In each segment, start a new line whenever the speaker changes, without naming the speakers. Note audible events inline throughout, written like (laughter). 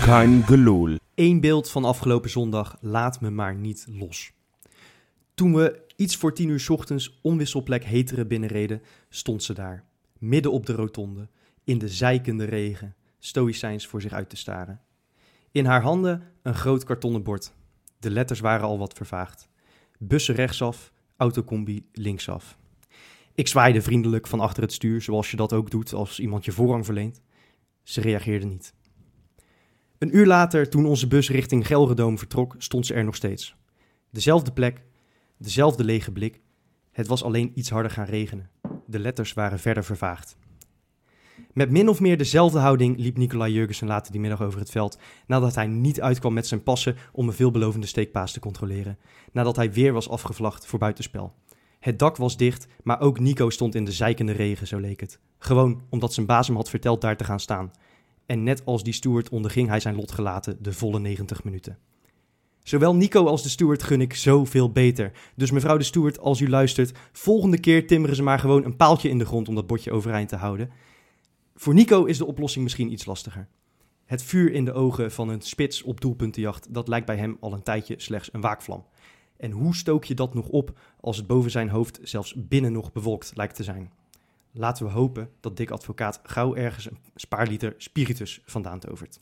Kein Gelul.
Eén beeld van afgelopen zondag laat me maar niet los. Toen we iets voor tien uur 's ochtends onwisselplek Heteren binnenreden, stond ze daar. Midden op de rotonde, in de zijkende regen, stoïcijns voor zich uit te staren. In haar handen een groot kartonnen bord. De letters waren al wat vervaagd. Bussen rechtsaf, autocombi linksaf. Ik zwaaide vriendelijk van achter het stuur, zoals je dat ook doet als iemand je voorrang verleent. Ze reageerde niet. Een uur later, toen onze bus richting Gelredoom vertrok, stond ze er nog steeds. Dezelfde plek, dezelfde lege blik. Het was alleen iets harder gaan regenen. De letters waren verder vervaagd. Met min of meer dezelfde houding liep Nicolai Jurgensen later die middag over het veld, nadat hij niet uitkwam met zijn passen om een veelbelovende steekpaas te controleren, nadat hij weer was afgevlacht voor buitenspel. Het dak was dicht, maar ook Nico stond in de zeikende regen, zo leek het. Gewoon omdat zijn baas hem had verteld daar te gaan staan. En net als die steward onderging hij zijn lot gelaten de volle 90 minuten. Zowel Nico als de steward gun ik zoveel beter. Dus mevrouw de steward, als u luistert, volgende keer timmeren ze maar gewoon een paaltje in de grond om dat bordje overeind te houden. Voor Nico is de oplossing misschien iets lastiger. Het vuur in de ogen van een spits op doelpuntenjacht, dat lijkt bij hem al een tijdje slechts een waakvlam. En hoe stook je dat nog op als het boven zijn hoofd zelfs binnen nog bewolkt lijkt te zijn? Laten we hopen dat Dick Advocaat gauw ergens een spaarliter spiritus vandaan tovert.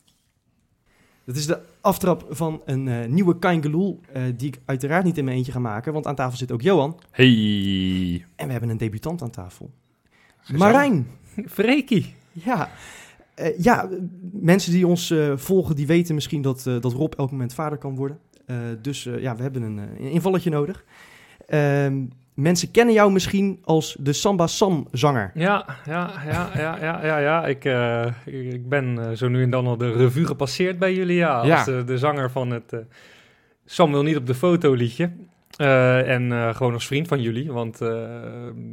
Dat is de aftrap van een eh, nieuwe Kein Geloel, eh, die ik uiteraard niet in mijn eentje ga maken, want aan tafel zit ook Johan.
Hey.
En we hebben een debutant aan tafel. Marijn!
Freekie.
Ja, Eh, ja eh, mensen die ons eh, volgen, die weten misschien dat, eh, dat Rob elk moment vader kan worden. Eh, dus eh, ja, we hebben een, eh, een invalletje nodig. Ehm, mensen kennen jou misschien als de Samba Sam zanger.
Ja, ja, ja, ja, ja, ja. ja. Ik, eh, ik, ik ben eh, zo nu en dan al de revue gepasseerd bij jullie. Ja, als
Ja.
de, de zanger van het eh, Sam wil niet op de foto liedje. Eh, en eh, gewoon als vriend van jullie, want eh,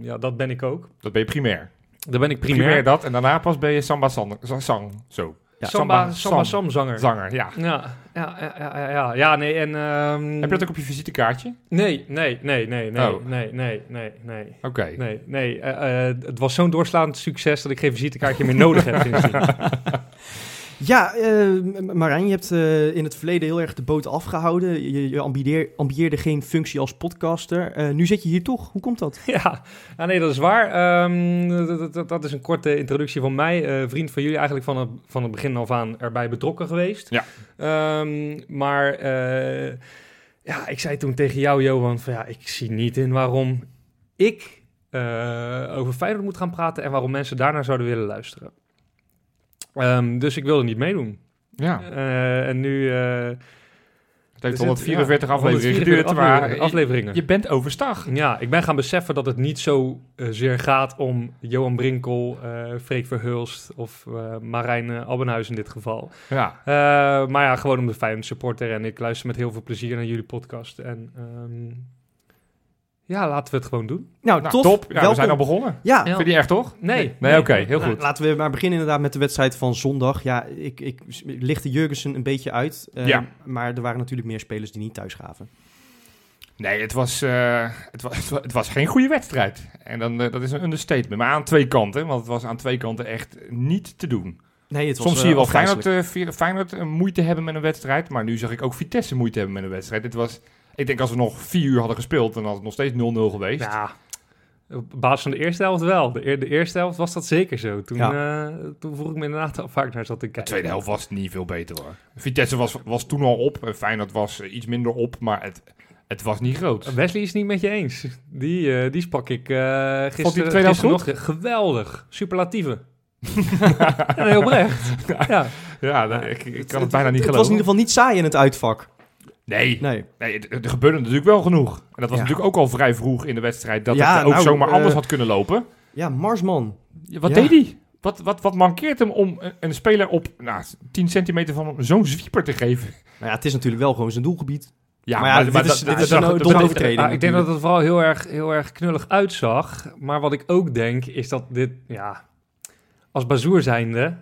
ja, dat ben ik ook.
Dat ben je primair.
Daar ben ik
primair.
primair.
dat en daarna pas ben je samba sang, za- sang zo.
Ja.
Samba,
Sam-
Samba Sam zanger.
Zanger, ja.
Ja, ja, ja, ja, ja, ja, ja, nee, en... ehm,
Heb je dat ook op je visitekaartje?
Nee, nee, nee, nee, nee,
Oh.
nee, nee, nee, nee.
Oké.
Nee, nee eh, eh, het was zo'n doorslaand succes dat ik geen visitekaartje meer nodig heb. sindsdien.
Ja, eh, M- Marijn, je hebt eh, in het verleden heel erg de boot afgehouden. Je, je ambieer- ambieerde geen functie als podcaster. Eh, nu zit je hier toch. Hoe komt dat?
(laughs) ja. ja, nee, dat is waar. Ehm, dat, dat, dat is een korte introductie van mij. Eh, vriend van jullie eigenlijk van het, van het begin af aan erbij betrokken geweest.
Ja.
Ehm, maar eh, ja, ik zei toen tegen jou, Johan, van ja, ik zie niet in waarom ik eh, over Feyenoord moet gaan praten en waarom mensen daarnaar zouden willen luisteren. Ehm, dus ik wilde niet meedoen.
Ja,
Eh, en nu... eh,
het heeft
Er zit-
144
ja,
afleveringen
144
geduurd, maar
afleveringen. afleveringen.
je, je bent overstag.
Ja, ik ben gaan beseffen dat het niet zo eh, zeer gaat om Johan Brinkel, eh Freek Verhulst of eh, Marijn eh, Abbenhuis in dit geval.
Ja.
Eh, maar ja, gewoon om de Feyenoord supporter en ik luister met heel veel plezier naar jullie podcast. En ehm, ja, laten we het gewoon doen.
Nou,
Nou,
tof.
top. Ja,
Welkom.
we zijn al begonnen.
Ja, Nou,
Ja.
Vind je echt, toch?
Nee.
Nee, oké. heel
Nee.
goed.
Laten we maar beginnen inderdaad met de wedstrijd van zondag. Ja, ik, ik, ik lichtte Jurgensen een beetje uit. eh,
Ja.
Maar er waren natuurlijk meer spelers die niet thuis gaven.
Nee, het was, eh, het, was, het wa- het was geen goede wedstrijd. En dan, eh, dat is een understatement. Maar aan twee kanten, want het was aan twee kanten echt niet te doen.
Nee, het was,
Soms
eh,
zie je wel
afgrijzelijk.
Feyenoord, eh, Vier- Feyenoord eh, moeite hebben met een wedstrijd. Maar nu zag ik ook Vitesse moeite hebben met een wedstrijd. Dit was, ik denk als we nog vier uur hadden gespeeld, dan had het nog steeds 0-0 geweest.
Ja, Nou, op basis van de eerste helft wel. De, eer- de eerste helft was dat zeker zo. Toen, eh, toen vroeg ik me inderdaad al vaak naar zat te
De
kijken.
tweede helft was het niet veel beter hoor. Vitesse was, was toen al op. en Feyenoord was eh, iets minder op, maar het, het was niet groot.
Eh,
Wesley is het niet met je eens. Die, eh, die sprak ik eh gisteren,
tweede helft
gisteren
goed?
nog. Geweldig. Superlatieven. (laughs) ja, nee, oprecht. Ja.
Ja, nou, ik, ik kan het
eh, Het-
bijna niet
Het was in
geloven.
ieder geval niet saai in het uitvak.
Nee,
Nee.
nee het- er gebeurde natuurlijk wel genoeg. En dat was
Ja.
natuurlijk ook al vrij vroeg in de wedstrijd. Dat
Ja,
het ook
nou,
zomaar
eh,
anders had kunnen lopen.
Ja, Marsman.
Ja, Wat
ja.
deed hij? Wat, wat, wat mankeert hem om een, een speler op nou, 10 centimeter van hem zo'n zwieper te geven?
Nou ja, het is natuurlijk wel gewoon zijn doelgebied.
Ja,
Maar ja, dit is- dit is
dat-
een
dat-
domme
dat-
overtreding.
Ah, ik denk dat het vooral heel erg, heel erg knullig uitzag. Maar wat ik ook denk, is dat dit, ja, als bazoer zijnde,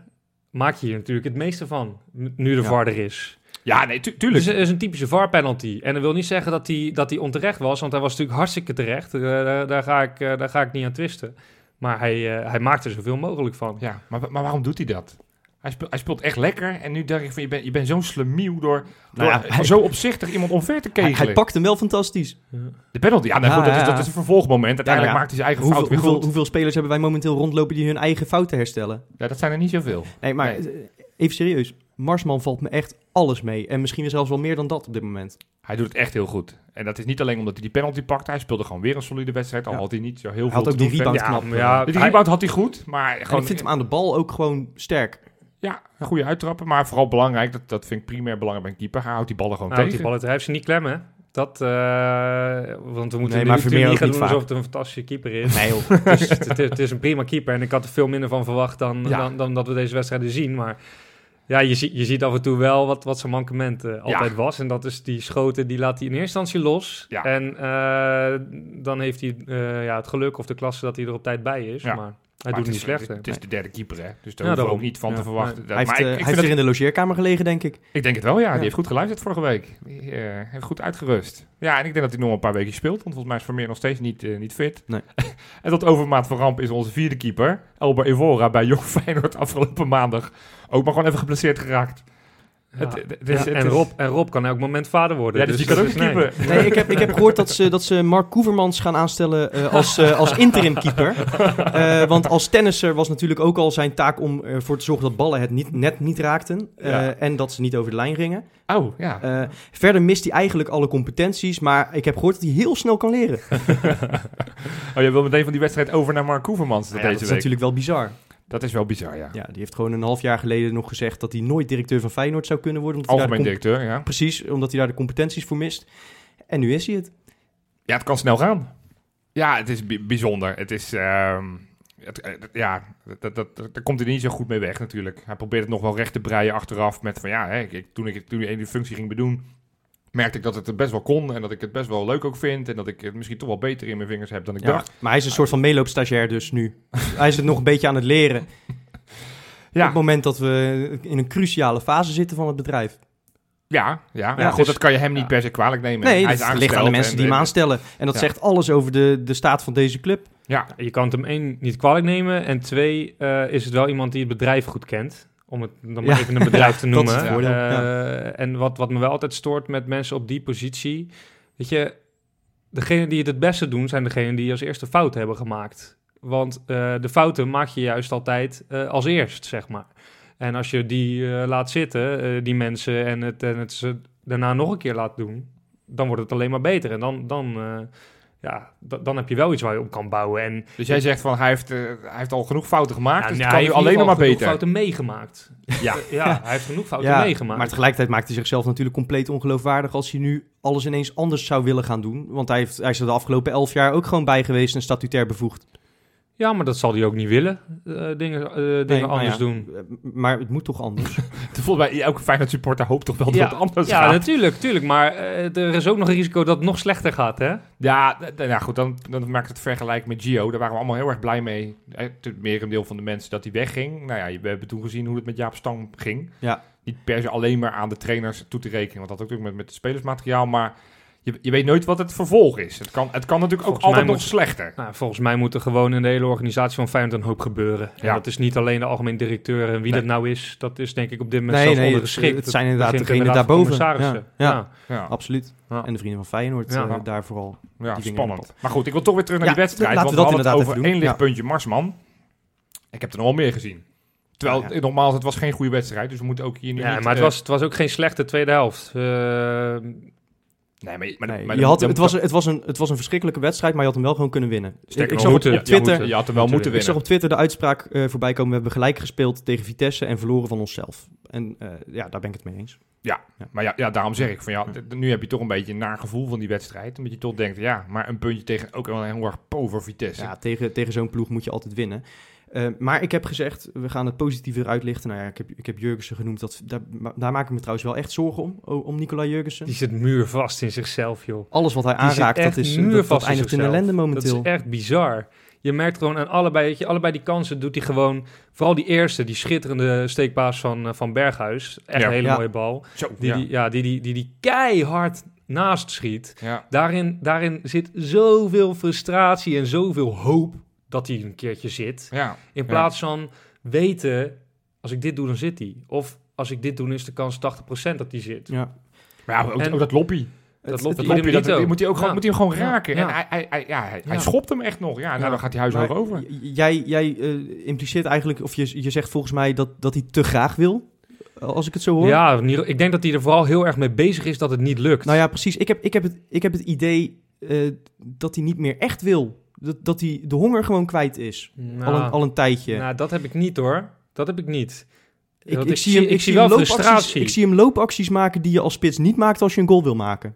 maak je hier natuurlijk het meeste van. n- Nu de
Ja.
VAR er is.
Ja, nee, tu- tuurlijk.
Dus het is een typische VAR-penalty. En dat wil niet zeggen dat hij dat die onterecht was, want hij was natuurlijk hartstikke terecht. Eh, daar, daar ga ik, eh, daar ga ik niet aan twisten. Maar hij, eh, hij maakt er zoveel mogelijk van.
Ja, maar, maar waarom doet hij dat? Hij speelt, hij speelt echt lekker. En nu denk ik van, je bent je bent zo'n slemiel door, door
Nou
(laughs)
ja, hij-
zo opzichtig iemand omver te
Hij,
kegelen.
hij pakt hem wel fantastisch.
De penalty. Ja, nou
Ja,
goed, dat,
ja,
is, dat
ja.
is een vervolgmoment. Uiteindelijk
Ja, ja.
maakt hij zijn eigen
Hoeveel,
fout weer
hoeveel,
goed.
hoeveel spelers hebben wij momenteel rondlopen die hun eigen fouten herstellen?
Ja, dat zijn er niet zoveel.
Nee, maar eh, even serieus. Marsman valt me echt alles mee. En misschien zelfs wel meer dan dat op dit moment.
Hij doet het echt heel goed. En dat is niet alleen omdat hij die penalty pakt. Hij speelde gewoon weer een solide wedstrijd. Al
Ja.
had hij niet zo heel
Hij
veel
had ook
te
die
doen verder.
rebound
Ja,
knap.
maar ja,
eh.
Ja, Die
Hij-
rebound had hij goed. Maar
En
gewoon,
ik vind hem eh, aan de bal ook gewoon sterk.
ja, een goede uittrappen. Maar vooral belangrijk, dat, dat vind ik primair belangrijk bij een keeper. Hij houdt die ballen gewoon
Nou, die
tegen.
ballen, hij heeft ze niet klemmen. hè. Dat, eh, want
Nee,
we moeten nu
maar
natuurlijk
Vermeer
niet
ook
gaan
niet
doen alsof
vaak.
het een fantastische keeper is.
Nee joh.
(laughs) het, is, het, is- het is een prima keeper en ik had er veel minder van verwacht dan,
Ja.
dan, dan dat we deze wedstrijden zien. Maar ja, je, zie- je ziet af en toe wel wat, wat zijn mankement eh, altijd was. En dat is die schoten, die laat hij in eerste instantie los.
Ja.
En eh, dan heeft hij eh, ja, het geluk of de klasse dat hij er op tijd bij is.
Ja.
Maar hij
Maar
doet
het
niet
is-
slecht. hè.
Het is de derde keeper, hè. Dus
Ja,
daar hoeven we
daarom.
ook niet van
Ja.
te verwachten. Dat-
Hij heeft,
maar
eh,
ik- ik
hij
vind
heeft
het-
er in de logeerkamer gelegen, denk ik.
Ik denk het wel, ja.
Ja.
Die heeft goed geluisterd vorige week. Die eh, heeft goed uitgerust. Ja, en ik denk dat hij nog wel een paar weken speelt. Want volgens mij is Vermeer nog steeds niet, eh, niet fit.
Nee.
(laughs) en tot overmaat van ramp is onze vierde keeper. Elber Evora bij Jong (laughs) Feyenoord afgelopen maandag. Ook maar gewoon even geblesseerd geraakt.
Ja.
Het- het- het
Ja,
is- het
en,
is-
Rob, en Rob kan elk moment vader worden.
Ja, dus die kan ook
dat
niet
is- nee.
keeper.
Nee, ik heb, ik heb gehoord dat ze, dat ze Mark Koevermans gaan aanstellen eh, als, eh, als interim
(laughs)
keeper. Eh, want als tennisser was natuurlijk ook al zijn taak om ervoor te zorgen dat ballen het niet, net niet raakten. eh,
Ja.
En dat ze niet over de lijn gingen.
(laughs) Oh, ja.
(laughs) Eh, verder mist hij eigenlijk alle competenties, maar ik heb gehoord dat hij heel snel kan leren.
Oh, jij wil meteen van die wedstrijd over naar Mark Koevermans
Nou ja, dat
deze
is
week.
natuurlijk wel bizar.
Dat is wel bizar, ja.
Ja, die heeft gewoon een half jaar geleden nog gezegd dat hij nooit directeur van Feyenoord zou kunnen worden. Omdat hij daar
Algemeen
de comp-
directeur, ja.
Precies, omdat hij daar de competenties voor mist. En nu is hij het.
Ja, het kan snel gaan. Ja, het is bi- bijzonder. Het is. ehm, het, eh, dat- ja, dat, dat, dat, daar komt hij niet zo goed mee weg natuurlijk. Hij probeert het nog wel recht te breien achteraf. Met van ja, hè, ik, ik- toen ik toen die functie ging bedoen, merkte ik dat het er best wel kon. En dat ik het best wel leuk ook vind. En dat ik het misschien toch wel beter in mijn vingers heb dan ik
Ja,
dacht.
maar hij is een soort van meeloopstagiair
(laughs)
dus nu. hij is het nog een beetje aan het leren. Op het moment dat we in een cruciale fase zitten van het bedrijf.
ja, ja.
Ja,
ja
het
goed,
is-
dat kan je hem niet
ja.
per se kwalijk nemen.
Nee,
hij
dat ligt aan de mensen die hem
maand.
aanstellen. En dat
Ja.
zegt alles over de, de staat van deze club.
Ja,
Je kan het hem één niet kwalijk nemen. En twee, eh, is het wel iemand die het bedrijf goed kent. Om het dan maar
(laughs) Ja.
even een bedrijf te
dat is
noemen.
het voordeel,
Eh,
ja.
En wat, wat me wel altijd stoort met mensen op die positie. Weet je, degenen die het het beste doen, zijn degenen die als eerste fouten hebben gemaakt. Want eh, de fouten maak je juist altijd eh, als eerst, zeg maar. En als je die eh, laat zitten, eh, die mensen, en het, en het ze daarna nog een keer laat doen, dan wordt het alleen maar beter. En dan, dan, eh, ja, da- dan heb je wel iets waar je op kan bouwen. En
dus jij zegt van hij heeft, eh, hij heeft al genoeg fouten gemaakt. dus
ja, nou,
het kan
hij
nu
heeft in
alleen
ieder
nog maar
geval genoeg
beter.
fouten meegemaakt.
Ja.
Eh, (laughs) ja, hij heeft genoeg fouten
Ja,
meegemaakt.
Maar tegelijkertijd maakt hij zichzelf natuurlijk compleet ongeloofwaardig als hij nu alles ineens anders zou willen gaan doen. Want hij, heeft, hij is er de afgelopen elf jaar ook gewoon bij geweest en statutair bevoegd.
Ja, maar dat zal hij ook niet willen. eh, dingen eh, dingen
Nee, nou
anders
ja,
doen.
eh, Maar het moet toch (laughs) anders?
Volgens mij, elke Feyenoord supporter hoopt toch wel dat het anders
ja,
gaat.
natuurlijk, natuurlijk. Maar eh, er is ook nog een risico dat het nog slechter gaat, hè?
Ja, d- d- nou goed, dan, dan maakt het vergelijk met Gio. Daar waren we allemaal heel erg blij mee. Eh, Het merendeel van de mensen dat hij wegging. Nou ja, we hebben toen gezien hoe het met Jaap Stang ging.
Ja.
Niet per se alleen maar aan de trainers toe te rekenen. Want dat had ook natuurlijk met, met het spelersmateriaal. Maar je, je weet nooit wat het vervolg is. Het kan, het kan natuurlijk
Volgens
ook altijd
mij
nog slechter.
Nou, volgens mij moet er gewoon in de hele organisatie van Feyenoord een hoop gebeuren. En
Ja.
dat is niet alleen de algemeen directeur en wie
Nee.
dat nou is. Dat is denk ik op dit moment
Nee,
zelf
nee, het-
ondergeschikt.
het zijn inderdaad
begint
degenen
inderdaad
daarboven.
bij commissarissen.
Ja, ja.
Ja.
Ja,
Absoluut.
Ja.
En de vrienden van Feyenoord
Ja.
eh, daar vooral.
ja
die dingen in de
spannend. Maar goed, ik wil toch weer terug naar
Ja,
die wedstrijd.
laten
Want
we
we,
dat
hadden het
inderdaad
over
even
één
doen.
lichtpuntje Marsman. Ik heb er nog wel meer gezien. Terwijl,
Ja.
eh, nogmaals, het was geen goede wedstrijd. Dus we moeten ook hier nu
Ja,
niet,
maar het
eh,
was, het was ook geen slechte tweede helft. Eh,
Nee, maar, maar,
Nee,
maar-
je had,
dan-
het, was, het, was een, het was een verschrikkelijke wedstrijd, maar je had hem wel gewoon kunnen winnen.
Sterker
ik
nog,
zag op
moeten.
ja,
Twitter-
moeten. Je had hem wel moeten
Ik zag
winnen.
op Twitter de uitspraak eh, voorbij komen. We hebben gelijk gespeeld tegen Vitesse en verloren van onszelf. En eh, ja, daar ben ik het mee eens.
Maar ja, ja, daarom zeg ik van ja, d- d- nu heb je toch een beetje een naar gevoel van die wedstrijd. Omdat je toch denkt, ja, maar een puntje tegen ook wel een heel erg pover Vitesse.
Ja, tegen, tegen zo'n ploeg moet je altijd winnen. Eh, maar ik heb gezegd, we gaan het positiever uitlichten. Nou ja, ik heb, ik heb Jurgensen genoemd. Dat, daar, ma- daar maak ik me trouwens wel echt zorgen om, o- om Nicola Jurgensen.
Die zit muurvast in zichzelf, joh.
Alles wat hij
Die zit
aanraakt, dat,
echt
is, eh, dat,
muurvast
dat
in
eindigt in
zichzelf.
ellende
Dat
momenteel.
is echt bizar. Je merkt gewoon aan allebei, weet je, allebei die kansen doet hij gewoon. Vooral die eerste, die schitterende steekpaas van, eh, van Berghuis. Echt
Ja.
een hele
Ja.
mooie bal.
Zo,
Die,
ja.
Die, ja, die, die, die, die keihard naast schiet.
ja.
Daarin, daarin zit zoveel frustratie en zoveel hoop dat hij een keertje zit.
Ja.
In plaats van weten, als ik dit doe, dan zit hij. Of als ik dit doe, is de kans 80% dat hij zit.
Ja.
Maar ja, ook,
En-
ook dat loppie.
Dat
Het-
loopt
Dat
Idem
loppie, dat,
dito.
moet hij ook gewoon,
Ja.
moet hij hem gewoon
Ja.
raken. En
Ja.
hij, hij, hij, ja, hij, hij
Ja.
schopt hem echt nog. Ja, nou,
Ja.
dan gaat hij huis
Maar
hoog over.
j- Jij, jij eh, impliceert eigenlijk, of je, je zegt volgens mij dat, dat hij te graag wil, eh, als ik het zo hoor.
Ja, in ieder- ik denk dat hij er vooral heel erg mee bezig is dat het niet lukt.
Nou ja, precies. Ik heb, ik heb, het, ik heb het idee eh, dat hij niet meer echt wil. Dat, dat hij de honger gewoon kwijt is.
Nou,
Al, een, al een tijdje.
nou, dat heb ik niet hoor. Dat heb ik niet.
ik,
want
ik
ik
zie
zie-
hem,
ik
ik
zie
zie
wel
hem loopacties-
frustratie.
Ik zie hem loopacties maken die je als spits niet maakt als je een goal wil maken.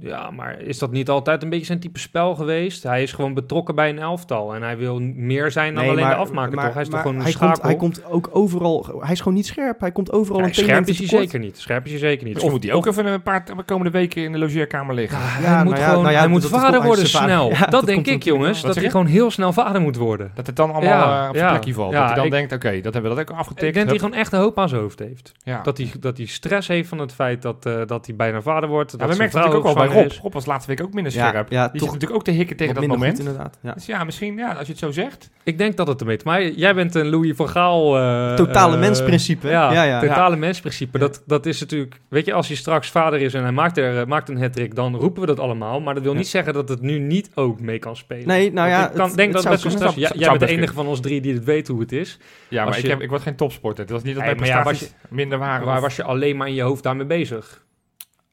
Ja, maar is dat niet altijd een beetje zijn type spel geweest? Hij is gewoon betrokken bij een elftal. En hij wil meer zijn dan
Nee,
alleen
maar-
de afmaker,
maar-
toch? Hij is
maar
toch gewoon een
hij
schakel?
Komt, hij komt ook overal... Hij is gewoon niet scherp. Hij komt overal
Ja,
een tenen
scherp is hij
tekort.
zeker niet. Scherp is hij zeker niet.
Misschien moet hij ook even een paar t- komende weken in de logeerkamer liggen.
Ja,
Ja,
hij moet,
nou ja,
gewoon,
nou ja,
hij moet
dat- dat
vader
komt-
worden
hij is
snel.
vader. Ja, dat
dat, denk
komt
ik,
natuurlijk
jongens.
wel.
Dat
Wat
hij
zeg
gewoon heel snel vader moet worden.
Dat het dan allemaal
Ja,
eh, op zijn
ja.
plekje valt.
Ja,
dat hij dan
ik-
denkt, oké, dat hebben we dat ook
Ik
afgetikt.
denk dat hij
Hup.
gewoon echt de hoop aan zijn hoofd heeft.
ja.
Dat, hij, dat hij stress heeft van het feit dat, eh, dat hij bijna vader wordt.
Ja,
dat
we
zijn
merken natuurlijk
vrouw
ook wel bij
zwanger
Rob.
is.
Rob was laatste week ook minder
Ja,
scherp.
ja,
die
toch
zit natuurlijk ook te hikken tegen
Wat
dat
minder
moment.
goed, inderdaad. Ja.
dus ja, misschien, ja, als je het zo zegt.
Ik denk dat het ermee te maken Jij bent een Louis van Gaal... eh,
Totale
eh,
mensprincipe.
Ja,
Ja, ja.
totale mensprincipe. Dat, dat is natuurlijk... Weet je, als hij straks vader is en hij maakt, er, eh, maakt een hat dan roepen we dat allemaal. Maar dat wil
Ja.
niet zeggen dat het nu niet ook mee kan spelen.
Nee, nou
Want
ja,
Ik kan,
het-
denk
het
dat het best
zou
wel stress...
kunnen.
Ja,
Het
jij
zou
bent de
best
enige van ons drie die het weet hoe het is.
Ja, maar
Als
ik,
je-
heb, ik was geen topsporter. Het was niet dat
Nee,
mijn
maar ja,
prestaties minder waren.
Waar
of-
was je alleen maar in je hoofd daarmee bezig?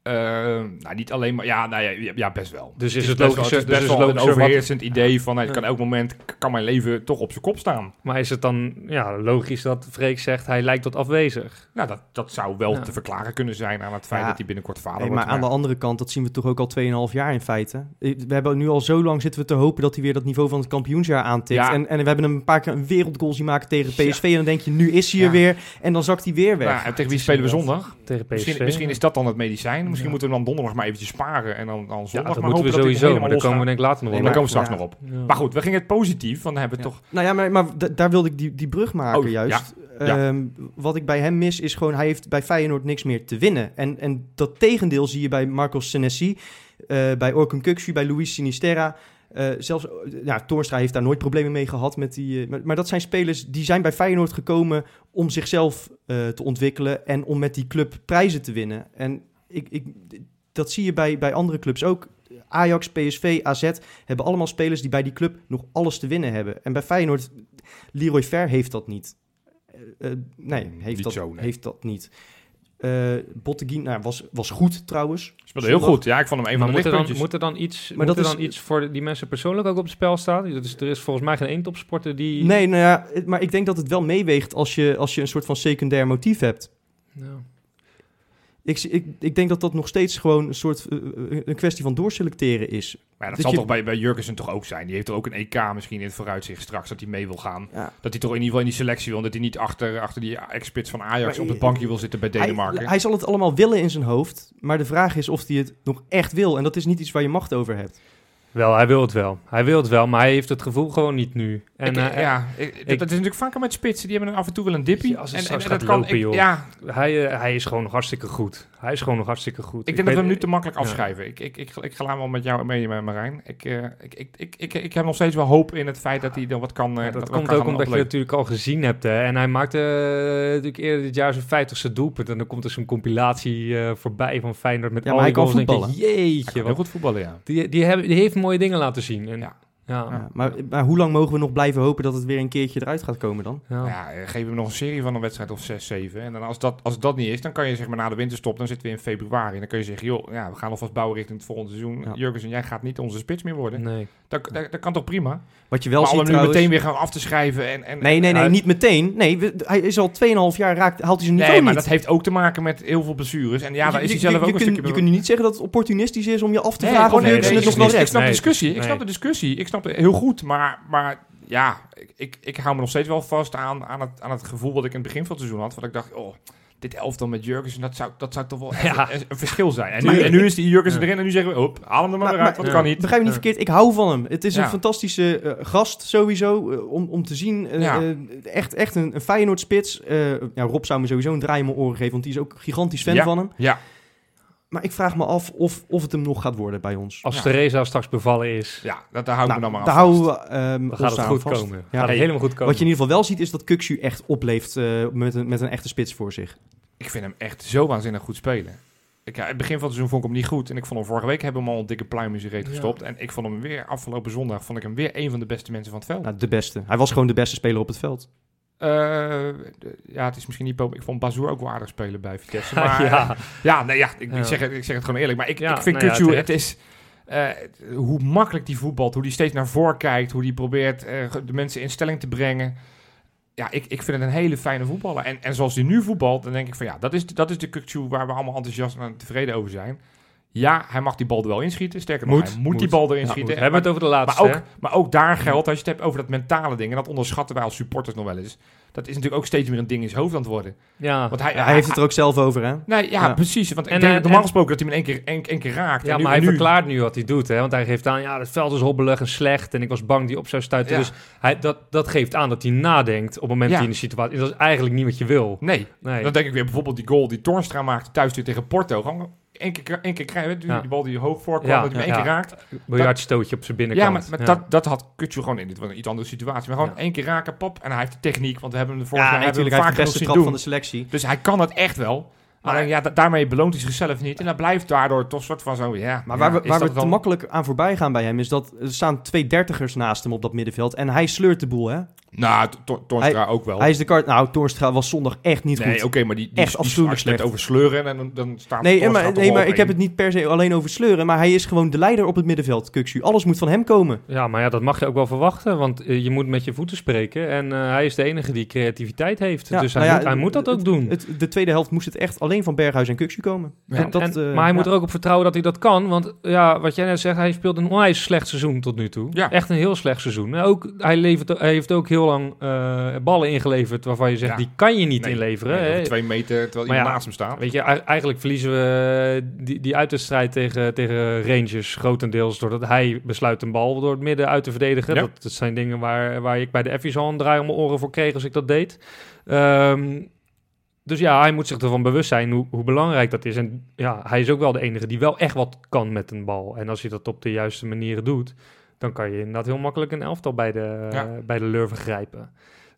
Eh, nou, niet alleen maar... Ja, nou, ja, ja, ja, best wel.
Dus
Het
is het
best wel-
logischer-
het is best
dus is
wel een
logischer wat-
overheersend idee van... nou, het
Ja.
kan elk moment k- kan mijn leven toch op zijn kop staan.
Maar is het dan ja, logisch dat Freek zegt hij lijkt wat afwezig?
Nou, dat, dat zou wel
Ja.
te verklaren kunnen zijn aan het feit
Ja.
dat hij binnenkort vader
Nee, maar
wordt.
aan de andere kant, dat zien we toch ook al 2,5 jaar in feite. Eh, We hebben nu al zo lang zitten we te hopen dat hij weer dat niveau van het kampioensjaar aantikt.
Ja.
En, en we hebben hem een paar keer een wereldgoal zien maken tegen PSV. En dan denk je, nu is hij er
Ja.
weer. En dan zakt hij weer weg.
Nou, en tegen wie spelen we zondag?
Tegen PSV.
Misschien, misschien is dat dan het medicijn. Misschien
Ja.
moeten we hem dan donderdag maar eventjes sparen. En dan, dan
ja,
zondag
dat
maar
moeten we
hopen dat hij
sowieso,
helemaal
maar daar
losgaat.
komen we denk ik later nog
Nee, maar
wel op.
daar komen we straks
Ja.
nog op.
Ja.
Maar goed, we gingen het positief, want dan hebben we
Ja.
toch...
Nou ja, maar, maar da- daar wilde ik die, die brug maken
Oh, ja,
juist.
ja.
Ehm, wat ik bij hem mis is gewoon, hij heeft bij Feyenoord niks meer te winnen. En, en dat tegendeel zie je bij Marcos Senesi, eh, bij Orkun Kuksu, bij Luis Sinisterra. Eh, zelfs, eh, nou, Toornstra heeft daar nooit problemen mee gehad. Met die, eh, maar, maar dat zijn spelers die zijn bij Feyenoord gekomen om zichzelf eh, te ontwikkelen en om met die club prijzen te winnen. En ik, ik, dat zie je bij, bij andere clubs ook. Ajax, PSV, AZ hebben allemaal spelers die bij die club nog alles te winnen hebben. En bij Feyenoord, Leroy Ver heeft dat niet. Eh, eh, nee,
Niet
heeft dat,
zo, nee.
heeft dat niet. Eh Botteguin nou, was, was goed trouwens.
Speelde heel
Zondag.
goed. Ja, ik vond hem een van
Maar
de
moet er, dan,
lichtpuntjes.
moet er dan iets,
Maar
moet
dat
er dan
is-
iets voor die mensen persoonlijk ook op het spel staan? Dus er is volgens mij geen één topsporter die...
Nee, nou ja, het- maar ik denk dat het wel meeweegt als je, als je een soort van secundair motief hebt.
Ja.
Ik, zie- ik, ik denk dat dat nog steeds gewoon een soort eh, eh, een kwestie van doorselecteren is.
Maar ja, dat,
Dat
zal
je-
toch bij, bij Jurgensen toch ook zijn. Die heeft er ook een EK misschien in het vooruitzicht straks dat hij mee wil gaan.
Ja.
Dat hij toch in ieder geval in die selectie wil. Dat hij niet achter, achter die ex-spits van Ajax
Maar-
op het bankje wil zitten bij Denemarken.
Hij, hij zal het allemaal willen in zijn hoofd, maar de vraag is of hij het nog echt wil. En dat is niet iets waar je macht over hebt.
Wel, hij wil het wel. Hij wil het wel, maar hij heeft het gevoel gewoon niet nu. En,
Ik-
eh,
ja, ik- dat- dat is natuurlijk vaker met spitsen. Die hebben dan af en toe wel een dippie.
Weet je, als het straks
dat
gaat
kan,
lopen,
ik,
joh.
ja,
hij, eh, hij is gewoon nog hartstikke goed. Hij is gewoon nog hartstikke goed.
ik denk dat we
weet-
hem nu te makkelijk
ja.
afschrijven. Ik, ik, ik, ik ga wel met jou mee, eh, Marijn. Ik, eh, ik, ik, ik, ik, ik heb nog steeds wel hoop in het feit dat hij dan wat kan. eh,
Ja, dat
wat
komt
kan
ook
gaan
omdat je
opleveren.
het natuurlijk al gezien hebt. Hè? En hij maakte eh, natuurlijk eerder dit jaar zijn 50ste doelpunt. En dan komt er zo'n compilatie eh, voorbij van Feyenoord met
Ja,
al
maar
die
hij kan
goals. Dan denk je,
Hij
jeetje,
kan heel
wat,
goed voetballen, ja.
die, die, hebben, die heeft mooie dingen laten zien.
Ja.
En, ja.
Ja.
Ja.
Ja, maar, maar hoe lang mogen we nog blijven hopen dat het weer een keertje eruit gaat komen dan?
Ja, eh, geef hem nog een serie van een wedstrijd of 6, 7. En dan als dat, als dat niet is, dan kan je zeg maar na de winterstop, dan zitten we in februari. En dan kun je zeggen, joh, ja, we gaan alvast bouwen richting het volgende seizoen.
Ja.
Jurgensen, jij gaat niet onze spits meer worden.
Nee.
Dat, dat, dat kan toch prima?
Wat je wel
maar om
ziet
hem nu
trouwens...
meteen weer gaan af te schrijven en... en
Nee, nee, nee,
Hij-
niet meteen. Nee, we- hij is al 2,5 jaar raakt, haalt hij zijn niveau
Nee, maar
niet.
dat heeft ook te maken met heel veel blessures. En ja, daar is
Je-
hij
je-
zelf
je,
ook
je
een
kunt,
stukje...
Je kunt nu niet zeggen dat het opportunistisch is om je af te
Nee,
vragen
gewoon
of
nee,
Jurgensen
nee,
het nog wel
ik snap-
redt.
Ik snap de
Nee,
discussie, ik
nee.
snap de discussie. Ik snap heel goed, maar, maar ja, ik, ik, ik hou me nog steeds wel vast aan, aan, het, aan het gevoel wat ik in het begin van het seizoen had. Want ik dacht, oh, dit elftal met Jurgensen, dat zou, dat zou toch wel echt
Ja.
een, een verschil zijn. En
Maar
nu,
ik-
en nu is die Jurgensen
Ja.
erin en nu zeggen we, hop, haal hem er maar,
Maar-
weer uit,
maar-
want dat kan niet.
Begrijp me niet
Ja.
verkeerd, ik hou van hem. Het is een
Ja.
fantastische eh, gast sowieso, eh, om, om te zien. eh,
Ja.
eh, echt, echt een, een Feyenoord-spits. Eh, ja, Rob zou me sowieso een draai in mijn oren geven, want die is ook gigantisch fan
Ja.
van hem.
Ja,
Maar ik vraag me af of, of het hem nog gaat worden bij ons.
Als
Ja.
Theresa straks bevallen is,
ja dat, daar hou ik
Nou,
me dan maar aan
daar
vast.
houden we ehm,
dan
ons
gaat het
aan
goed
vast.
komen.
Ja,
gaat
hey,
het helemaal goed komen.
Wat je in ieder geval wel ziet, is dat Kuxu echt opleeft eh, met, een, met een echte spits voor zich.
Ik vind hem echt zo waanzinnig goed spelen. Ik, ja, het begin van het seizoen vond ik hem niet goed. En ik vond hem vorige week hebben we hem al een dikke pluim in zijn reet
Ja.
gestopt. En ik vond hem weer afgelopen zondag vond ik hem weer een van de beste mensen van het veld.
Nou, de beste. Hij was gewoon de beste speler op het veld.
Eh, d- ja, het is misschien niet... po- Ik vond Bazoer ook wel aardig spelen bij
(laughs)
Vitesse.
Ja,
Maar, eh,
ja.
Ja, nee, ja, ik,
Ja.
Ik, zeg, het- ik zeg het gewoon eerlijk. Maar ik,
Ja,
ik vind
nou ja,
Kutsu,
terecht.
het is... eh, hoe makkelijk die voetbalt, hoe die steeds naar voren kijkt, hoe die probeert eh, de mensen in stelling te brengen. Ja, ik, ik vind het een hele fijne voetballer. En, en zoals hij nu voetbalt, dan denk ik van ja, dat is, dat is de Kutsu waar we allemaal enthousiast en tevreden over zijn. Ja, hij mag die bal er wel inschieten. Sterker nog,
Moet,
hij moet,
moet.
die bal erin
Ja,
schieten.
goed. We hebben het over de
eh, Maar
laatste.
ook, maar ook daar geldt, als je het hebt over dat mentale ding, en dat onderschatten wij als supporters nog wel eens. Dat is natuurlijk ook steeds meer een ding in zijn hoofd aan het worden.
hè? Ja.
Want
hij heeft het er ook zelf over, hè?
Nee, ja,
Ja.
precies. Want
En,
ik denk
eh,
dat normaal
en-
gesproken dat hij hem in één keer, één, één keer raakt.
Ja,
en nu,
maar hij
en nu,
verklaart nu wat hij doet. Hè? Want hij geeft aan, ja, het veld is hobbelig en slecht. En ik was bang die op zou stuiten.
Ja.
Dus hij, dat, dat geeft aan dat hij nadenkt op het
Ja.
moment dat hij in de situatie... Dat is eigenlijk niet wat je wil.
Nee,
Nee.
dan denk ik weer bijvoorbeeld die goal die Torstra maakte thuis nu tegen Porto. Gewoon één keer, één keer krijgen, die,
Ja.
die bal die hoog voorkwam,
Ja,
dat hij hem
ja,
één keer
ja.
raakt.
Biljartstootje op zijn
Ja,
binnenkant.
maar, maar Dat, dat had Kutsu gewoon in dit was een iets andere situatie. Maar gewoon
Ja.
één keer raken, pop. En hij heeft de techniek, want we hebben hem de vorige
Ja,
jaar hebben we hem
natuurlijk. Hij heeft
vaak
de beste
genoeg
trap
zien
van
doen.
de selectie.
Dus hij kan het echt wel.
Maar-
Alleen ja, da- daarmee beloont hij zichzelf niet. En dat blijft daardoor toch soort van zo, ja.
Maar
ja,
waar
is
we, waar
dat
we te
dan-
makkelijk aan voorbij gaan bij hem is dat er staan twee dertigers naast hem op dat middenveld. En hij sleurt de boel, hè?
Nou, To- To- Torstra ook wel.
Hij is de kart. Nou, Torstra was zondag echt niet
nee,
goed.
oké, maar die, die,
Echt
die,
afschuwelijk
als je het hebt
slecht.
over sleuren en dan, dan staat
nee, en
Torstra
maar,
toch
nee,
wel
maar
op
ik
één.
heb het niet per se alleen over sleuren. Maar hij is gewoon de leider op het middenveld, Kuxu. Alles moet van hem komen.
Ja, maar ja, dat mag je ook wel verwachten, want eh, je moet met je voeten spreken. En eh, hij is de enige die creativiteit heeft,
Ja,
dus hij,
nou ja,
moet, hij moet dat ook
het-
doen.
Het, de tweede helft moest het echt alleen van Berghuis en Kuxu komen.
Ja.
En dat,
En-
eh,
maar hij moet
ja.
er ook op vertrouwen dat hij dat kan. Want ja, wat jij net zegt, hij speelt een onwijs slecht seizoen tot nu toe.
Ja.
Echt een heel slecht seizoen. En Ook, hij, levert, hij heeft ook heel lang eh, ballen ingeleverd waarvan je zegt,
Ja.
die kan je niet
Nee.
inleveren.
Nee,
hè.
over twee meter terwijl
Maar
iemand
ja,
naast hem staat.
Weet je, ei- eigenlijk verliezen we die, die uitwedstrijd tegen, tegen Rangers grotendeels doordat hij besluit een bal door het midden uit te verdedigen.
Ja.
Dat, dat zijn dingen waar, waar ik bij de Effies al een draai om mijn oren voor kreeg als ik dat deed. Ehm, dus ja, hij moet zich ervan bewust zijn hoe, hoe belangrijk dat is. En ja, hij is ook wel de enige die wel echt wat kan met een bal. En als je dat op de juiste manieren doet, dan kan je inderdaad heel makkelijk een elftal bij de,
Ja.
bij de lurven grijpen.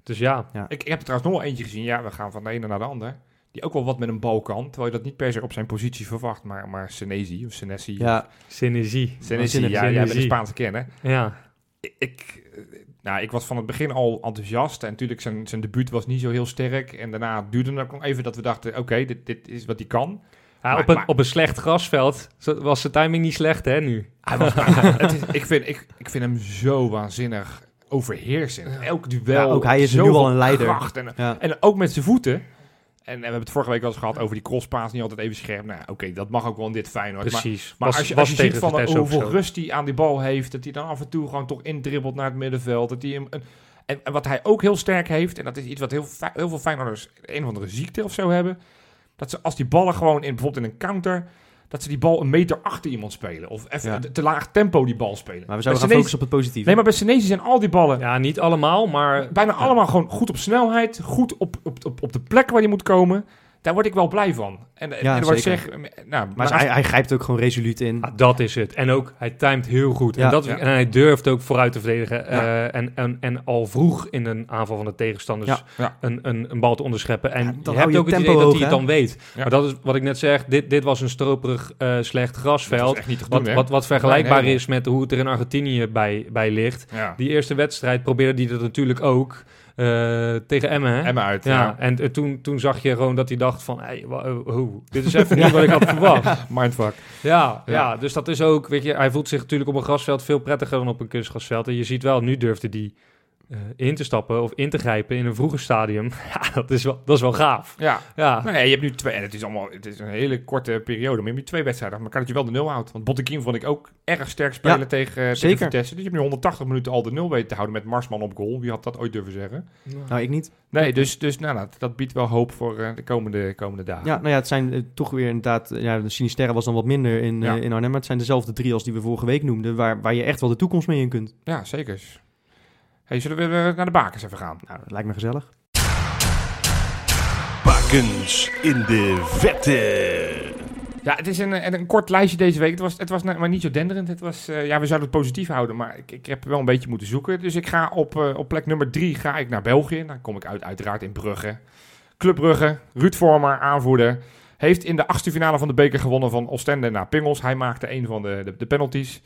Dus ja,
Ik, ik heb er trouwens nog wel eentje gezien. Ja, we gaan van de ene naar de ander. Die ook wel wat met een bal kan. Terwijl je dat niet per se op zijn positie verwacht. Maar, maar Senesi of Senesi.
Ja,
synergie.
Senesi, ja, jij
Senesi.
bent een Spaanse kennen.
Ja,
Ik, ik, eh, nou, ik was van het begin al enthousiast. En natuurlijk, zijn, zijn debuut was niet zo heel sterk. En daarna duurde het ook nog even dat we dachten... Oké, dit, dit is wat hij kan.
Ja,
Maar-
op, een,
maar-
op een slecht grasveld zo- was zijn timing niet slecht, hè, nu?
Hij
(laughs)
was, maar het is, ik, vind, ik, ik vind hem zo waanzinnig overheersend. Elk duel.
Ja, ook hij is nu
zoveel
al een leider.
kracht en-
ja.
En ook met zijn voeten. En, en we hebben het vorige week wel eens gehad over die crosspaas niet altijd even scherp. Nou, ja, oké, dat mag ook wel in dit Feyenoord. Maar,
Precies.
maar
Was-
als je,
was
als je ziet
tegen
van
Vitesse ook
hoeveel
zo.
rust hij aan die bal heeft, dat hij dan af en toe gewoon toch indribbelt naar het middenveld. Dat hij hem, een- en, en wat hij ook heel sterk heeft, en dat is iets wat heel, fi- heel veel Feyenoorders een of andere ziekte of zo hebben, dat ze als die ballen gewoon in, bijvoorbeeld in een counter, dat ze die bal een meter achter iemand spelen. Of even
Ja.
te- te laag tempo die bal spelen.
Maar
Bij
we zouden gaan
Senesi-
focussen op het positieve.
Nee, maar bij Senesi zijn al die ballen
Ja, niet allemaal, maar...
bijna allemaal gewoon goed op snelheid, goed op, op, op, op de plek waar je moet komen. Daar word ik wel blij van. En, en,
Ja,
en wat ik
zeker.
zeg, eh, nou,
Maar
naast-
hij, hij grijpt ook gewoon resoluut in.
Ah, dat is het. En ook, hij timed heel goed.
Ja,
en, dat,
ja.
en hij durft ook vooruit te verdedigen.
Ja.
eh, en, en, en al vroeg in een aanval van de tegenstanders
Ja.
Ja.
Een, een, een bal te onderscheppen. En
Ja, dan
je
hou
hebt
je
ook het
tempo
idee dat
hoog,
hij het
hè?
dan weet.
Ja.
Maar dat is wat ik net zeg. Dit, dit was een stroperig, eh, slecht
dat was
grasveld.
echt niet te doen,
Wat,
hè?
wat, wat vergelijkbaar
Nee, nee,
is met hoe het er in Argentinië bij, bij ligt.
ja.
Die eerste wedstrijd probeerde hij dat natuurlijk ook. eh, tegen Emmen, hè?
En maar uit.
Ja,
Ja.
en eh, toen, toen zag je gewoon dat hij dacht van, hey, wa- oh, oh, dit is (laughs) even niet wat ik
(laughs)
had verwacht. Ja,
Mindfuck.
ja,
Ja.
dus dat is ook, weet je, hij voelt zich natuurlijk op een grasveld veel prettiger dan op een kunstgrasveld. En je ziet wel, nu durfde die eh, in te stappen of in te grijpen in een vroeger stadium, (laughs) ja, dat is wel, dat is wel gaaf.
Ja.
Ja,
Nou ja, je hebt nu twee, en het is allemaal, het is een hele korte periode, maar je hebt nu twee wedstrijden, maar kan dat je wel de nul houdt. Want Bottekin vond ik ook erg sterk spelen
Ja,
tegen, eh, tegen
zeker.
Vitesse. Dus je hebt nu 180 minuten al de nul weten te houden met Marsman op goal. Wie had dat ooit durven zeggen?
Nou, ik niet.
Nee, dus, dus nou, nou, dat biedt wel hoop voor eh, de komende, komende dagen.
Ja, nou ja, het zijn eh, toch weer inderdaad... eh, Ja, de Sinisterra was dan wat minder in, eh,
Ja.
in Arnhem... maar het zijn dezelfde drie als die we vorige week noemden... waar, waar je echt wel de toekomst mee in kunt.
Ja, zeker. Hey, zullen we eh, naar de bakens even gaan?
Nou, dat lijkt me gezellig.
Bakens in de vette.
Ja, het is een, eh, een, een kort lijstje deze week. Het was, het was nou, maar niet zo denderend. Het was, eh, ja, we zouden het positief houden, maar ik, ik heb wel een beetje moeten zoeken. Dus ik ga op, eh, op plek nummer drie ga ik naar België. Dan kom ik uit, uiteraard in Brugge. Club Brugge, Ruud Vormer, aanvoerder. Heeft in de achtste finale van de beker gewonnen van Oostende naar Pingels. Hij maakte een van de, de, de penalties.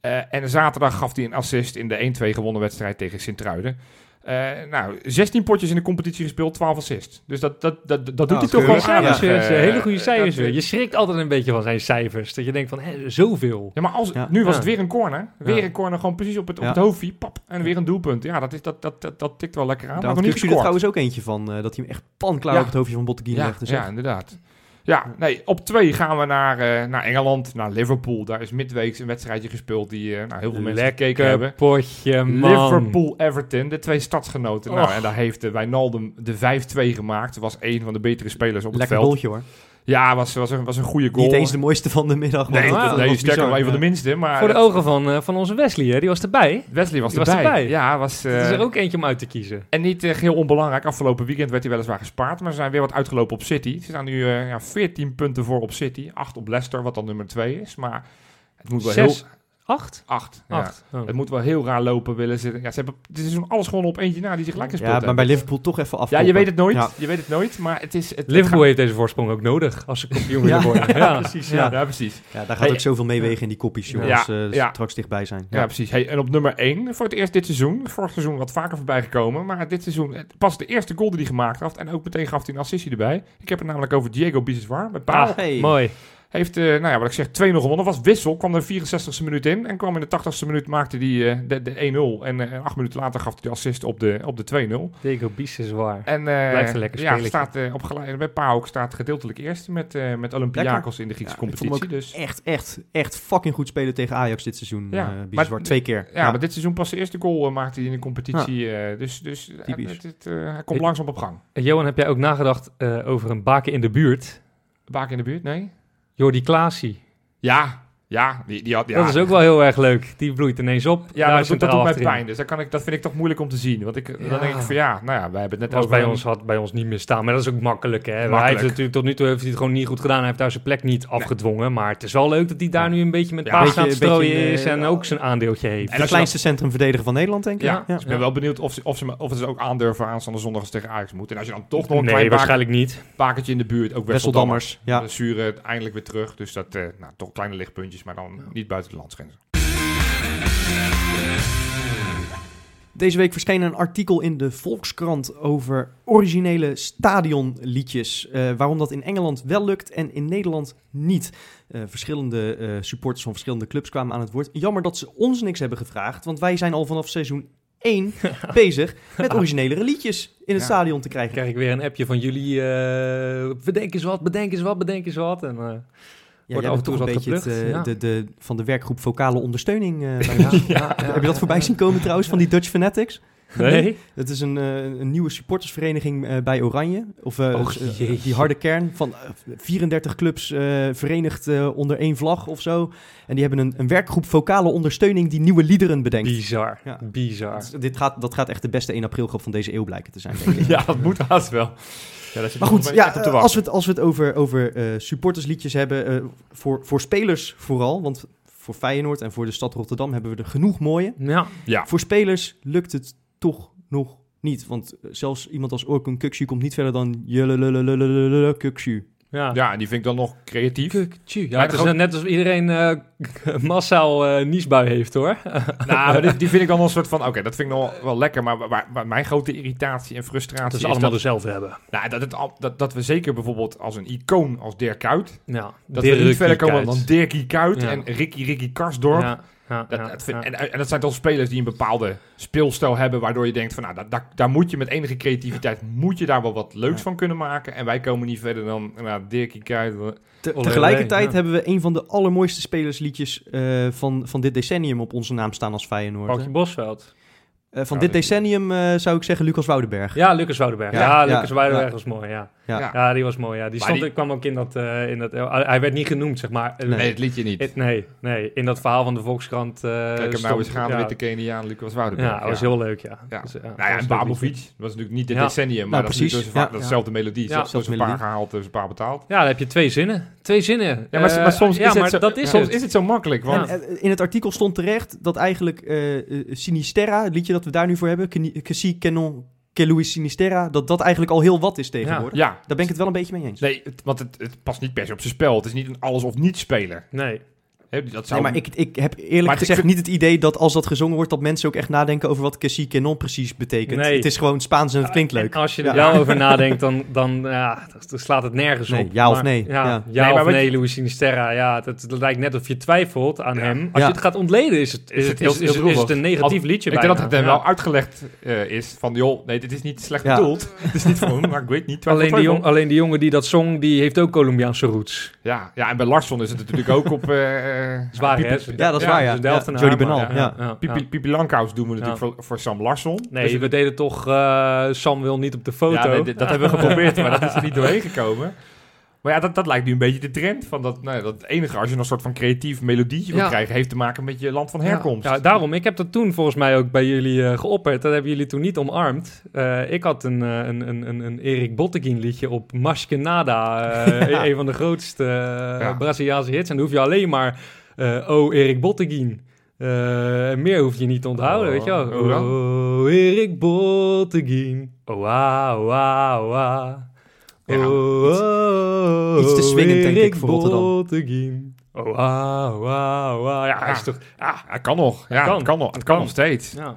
Eh, en zaterdag gaf hij een assist in de 1-2 gewonnen wedstrijd tegen Sint-Truiden. Eh, nou, 16 potjes in de competitie gespeeld, 12 assists. Dus dat, dat, dat, dat doet
Nou,
hij toch
keurig.
wel
Goede
aardig.
cijfers, weer,
eh,
hele goede
dat-
cijfers weer. Je schrikt altijd een beetje van zijn cijfers. Dat je denkt van, hè, zoveel.
Ja, maar als,
Ja.
nu was
Ja.
het weer een corner. Weer
Ja.
een corner, gewoon precies op het, op
Ja.
het hoofdje. Pap, en weer een doelpunt. Ja, dat, is, dat, dat, dat, dat tikt wel lekker aan.
Daar
Maar
had
nog niet
Kuxu er
gescoord.
trouwens ook eentje van... eh, dat hij hem echt panklaar
Ja.
op het hoofdje van Botteguin
Ja,
legde. zeg.
ja, inderdaad. Ja, nee, op twee gaan we naar, eh, naar Engeland, naar Liverpool. Daar is midweeks een wedstrijdje gespeeld die eh, nou, heel veel mensen gekeken hebben.
potje,
Liverpool-Everton, de twee stadsgenoten. Nou,
Och.
en daar heeft eh, Wijnaldum de 5-2 gemaakt. Was een van de betere spelers op
Lekker
het veld.
bolletje hoor.
Ja, was, was, een, was een goede goal.
Niet eens de mooiste van de middag.
Nee,
want dat-
Ah,
dat
nee
was
sterker,
bizar.
wel een van de
Ja.
minste. Maar
Voor de
Ah, dat- Eh,
ogen van, eh, van onze Wesley, hè, die was erbij.
Wesley was
Die
erbij.
was erbij.
Ja, was,
Het is
eh,
er ook eentje om uit te kiezen.
En niet eh, geheel onbelangrijk, afgelopen weekend werd hij weliswaar gespaard, maar ze zijn weer wat uitgelopen op City. Ze staan nu eh, ja, 14 punten voor op City, 8 op Leicester, wat dan nummer 2 is. Maar het moet wel
Zes,
heel...
acht?
8. Ja.
Acht. Oh.
Het moet wel heel raar lopen willen ze. Ja, ze hebben dit is alles gewoon op eentje na die zich lekker speelt.
Ja, maar bij Liverpool toch even af.
ja, je weet het nooit.
Ja.
Je weet het nooit, maar het is... Het, het
Liverpool
gaat-
heeft deze voorsprong ook nodig als
(laughs)
ze kampioen willen
Ja.
worden. Ja,
precies.
Ja.
Ja, ja, precies.
Ja, daar gaat
Hey,
ook zoveel meewegen in die kopjes, jongens. Eh,
Ja,
als ze
ja.
straks dichtbij zijn.
Ja, precies. Hey, en op nummer 1, voor het eerst dit seizoen. Vorig seizoen wat vaker voorbij gekomen. Maar dit seizoen eh, pas de eerste goal die hij gemaakt had. En ook meteen gaf hij een assistie erbij. Ik heb het namelijk over Diego Biseswar. Bij Paal.
Ah,
Hey.
Mooi.
Heeft, eh, nou ja, wat ik zeg, 2-0 gewonnen. Was wissel, kwam er 64ste minuut in. En kwam in de 80ste minuut, maakte hij de, de 1-0. En eh, acht minuten later gaf hij de assist op de, op de 2-0.
Diego Bies is waar.
En eh,
Blijft een lekker
ja,
spelletje.
staat, eh, op gelijk, bij Paok staat gedeeltelijk eerst met, eh, met Olympiakos in de Griekse
Ja, ik vond
competitie. Dus,
Echt, echt, echt fucking goed spelen tegen Ajax dit seizoen.
Ja,
eh
maar-
Bizar. Twee keer.
ja, maar dit seizoen pas de eerste goal eh, maakte hij in de competitie. eh, dus dus eh,
Typisch.
het- het, eh, hij komt
Ik-
langzaam op gang.
En Eh, Johan, heb jij ook nagedacht eh, over een baken in de buurt?
Baak in de buurt, nee?
Jordi Klaasie.
Ja, ja. Die, die had, ja.
Dat is ook wel heel erg leuk. Die bloeit ineens op.
ja,
Daar
maar dat, doet- dat
centraal
doet mij
achterin.
pijn. Dus dat, kan ik, dat vind ik toch moeilijk om te zien. Want ik,
Ja.
dan denk ik van ja, nou ja, wij hebben het net
Was
over
bij
een-
ons, had bij ons niet meer staan. Maar dat is ook makkelijk. Hè?
Makkelijk.
Hij heeft het natuurlijk tot nu toe heeft hij het gewoon niet goed gedaan. Hij heeft daar zijn plek niet afgedwongen. Maar het is wel leuk dat hij daar nu een beetje met
Ja,
paas
beetje-
aan het strooien
beetje, eh,
is. En ook zijn aandeeltje heeft.
En
de
als je
kleinste centrumverdediger van Nederland, denk ik.
Ja, dus ik ben
ja.
wel benieuwd of ze, of, ze, me- of ze ook aandurven aanstaande zondag eens tegen Ajax moeten. En als je dan toch nog een
Nee,
klein bak-
waarschijnlijk niet.
bakertje in de buurt, ook Wesseldammers.
Wesseldammers. Ja.
De Zuren eindelijk weer terug. Dus dat, eh, nou, toch kleine lichtpuntjes, maar dan niet buiten de landsgrenzen.
Deze week verscheen een artikel in de Volkskrant over originele stadionliedjes. Eh, waarom dat in Engeland wel lukt en in Nederland niet. Eh, verschillende eh, supporters van verschillende clubs kwamen aan het woord. Jammer dat ze ons niks hebben gevraagd, want wij zijn al vanaf seizoen
(laughs)
1 bezig met originelere liedjes in het
Ja.
stadion te krijgen.
Dan krijg ik weer een appje van jullie. eh bedenk eens wat, bedenk eens wat, bedenk eens wat. En,
(laughs)
eh,
Ja,
Wordt
jij
af en
bent
toe
toch een
wat
beetje het,
geplukt,
eh,
ja.
de, de, van de werkgroep vocale ondersteuning. eh, bij
ja,
ons.
ja, (laughs) ja.
Heb je dat voorbij zien komen trouwens van die Dutch Fanatics?
Nee?
Het is een, eh, een nieuwe supportersvereniging eh, bij Oranje. Of eh,
Och,
eh,
jeetje.
die harde kern van eh, 34 clubs eh, verenigd eh, onder één vlag of zo. En die hebben een, een werkgroep vocale ondersteuning die nieuwe liederen bedenkt.
Bizar.
Ja.
Bizar.
Dus dit gaat, dat gaat echt de beste 1 april grap van deze eeuw blijken te zijn. denk
(laughs)
ik.
(laughs) Ja, dat moet haast wel. Ja, daar zit
Maar
ik
goed,
nog
ja,
echt op te
eh, als,
wachten.
we het, als we het over, over eh, supportersliedjes hebben, eh, voor, voor spelers vooral, want voor Feyenoord en voor de stad Rotterdam hebben we er genoeg mooie.
Ja.
Ja.
Voor spelers lukt het toch nog niet, want eh, zelfs iemand als Orkun Kuksu komt niet verder dan jellelelelelelele Kuksu.
Ja.
Ja, en die vind ik dan nog creatief.
Kukchu. Ja,
Maar
het is
gewoon-
net alsof iedereen eh, (laughs) massaal eh niesbui heeft, hoor.
nou, maar die, die vind ik dan nog een soort van, oké, dat vind ik nog wel, wel lekker. Maar waar, waar mijn grote irritatie en frustratie
Dat
is,
ze allemaal dus-
dat,
dezelfde hebben.
nou, dat, het al- dat, dat we zeker bijvoorbeeld als een icoon als Dirk Kuyt,
Ja.
dat we niet verder komen dan Dirkie Kuyt
Ja.
en Ricky Ricky Karsdorp.
Ja. Ja,
Dat,
ja,
dat vind-
ja.
en, en dat zijn toch spelers die een bepaalde speelstijl hebben, waardoor je denkt van, nou, daar, daar, daar moet je met enige creativiteit, moet je daar wel wat leuks
Ja.
van kunnen maken. En wij komen niet verder dan, nou, Dirkie Kuyt,
Te-
Olé,
tegelijkertijd
olé, ja.
hebben we een van de allermooiste spelersliedjes eh, van, van dit decennium op onze naam staan als Feyenoord. hè.
Paukje Bosveld.
Eh, van
Ja,
dit
dat-
decennium eh, zou ik zeggen Lucas Woudenberg.
Ja, Lucas Woudenberg.
Ja,
Ja,
ja,
Lucas Woudenberg
ja.
was mooi, ja.
Ja.
ja. die was mooi, ja. Die,
Maar
stond,
die-
ik kwam ook in dat, eh, in dat... Hij werd niet genoemd, zeg maar.
Nee.
Nee, het liedje niet.
Het- nee, nee. In dat verhaal van de Volkskrant... eh,
Kijk hem
stond-
nou eens gaan
ja.
met de Keniaan Lucas Woudenberg.
Ja, dat was heel leuk, ja.
Ja.
Dus,
Nou ja,
was
en
leuk
Babovic,
liedje.
dat was natuurlijk niet dit
Ja.
decennium, maar
Nou,
dat is
precies,
natuurlijk wel
ja,
eens vaak datzelfde melodie.
Ja.
Ja, zelfs een
Zelfde
paar
melodie.
gehaald, dus een paar betaald.
Ja, dan heb je twee zinnen. Twee zinnen.
Ja, maar,
Eh,
maar soms,
ja,
is,
maar
het zo,
dat is
soms
het.
is het zo makkelijk, want
Ja.
En, eh, in het artikel stond terecht dat eigenlijk eh, eh, Sinisterra, het liedje dat we daar nu voor hebben, Keni- Kessie Kenon Ke Louis Sinisterra, dat dat eigenlijk al heel wat is tegenwoordig.
ja,
Daar ben ik het wel een beetje mee eens.
Nee, het- want het, het past niet per se op zijn spel. Het is niet een alles of niet speler.
Nee.
Hè, dat
Nee,
zou
maar ik, ik heb eerlijk
Maar ik
gezegd
vind-
niet het idee dat als dat gezongen wordt, dat mensen ook echt nadenken over wat Kessie Kenon precies betekent.
Nee.
Het is gewoon Spaans en het klinkt leuk.
En als je er
Ja.
wel over nadenkt, dan, dan, ja, dan slaat het nergens
Nee,
op.
ja of
Maar-
nee,
Ja,
ja.
ja
Nee, maar
of
wat
nee,
je-
Louis Sinisterra. Ja, dat, dat lijkt net of je twijfelt aan
Ja.
hem. Als
Ja.
je het gaat ontleden, is het, is
Is
het,
het- is
is,
het
is,
droevig.
het een negatief liedje
ik denk dat
bijna.
het hem
Ja.
wel uitgelegd eh, is van, joh, nee, dit is niet slecht
Ja.
bedoeld. (laughs) Het is niet voor hem, maar ik weet niet.
Alleen die,
Twijfel,
jong, alleen die jongen die dat zong, die heeft ook Colombiaanse roots.
Ja, ja, en bij Larsson is het natuurlijk ook op... eh, eh,
Zwaar, hè?
Pipi-
Ja, dat is waar, ja.
dus de helft
Ja,
en
Jordi
haar, maar-
Bernal, ja.
Pipi, Pipi Lankhuis doen we natuurlijk voor, voor Sam Larsson.
Nee,
Dus-
we deden toch eh, Sam wil niet op de foto.
Ja, nee, dit- dat hebben we geprobeerd, maar dat is er niet
(laughs)
doorheen gekomen. Maar ja, dat, dat lijkt nu een beetje de trend. Van dat, nou, ja, dat enige, als je een soort van creatief melodietje wil
Ja.
krijgen, heeft te maken met je land van
Ja.
herkomst.
Ja, daarom, ik heb dat toen volgens mij ook bij jullie eh, geopperd. Dat hebben jullie toen niet omarmd. Eh, ik had een, eh, een, een, een, een Erik Botteguin liedje op Maskenada. eh
Ja.
Een van de grootste eh,
Ja.
Braziliaanse hits. En dan hoef je alleen maar, eh, oh Erik Botteguin. Eh, meer hoef je niet te onthouden,
Oh,
weet je wel.
hoe dan?
Oh, Erik Botteguin. Oh, ah, oh, ah, oh, ah.
Ja,
Oh,
iets-
oh,
iets te swingend, denk ik,
Erik
voor Rotterdam.
Botteguin. Oh, ah, oh, ah, oh, ah. Ja, hij is
Ja.
toch...
Ja, het kan nog. Ja, het kan,
kan.
nog. Het kan
kan.
nog steeds.
Ja.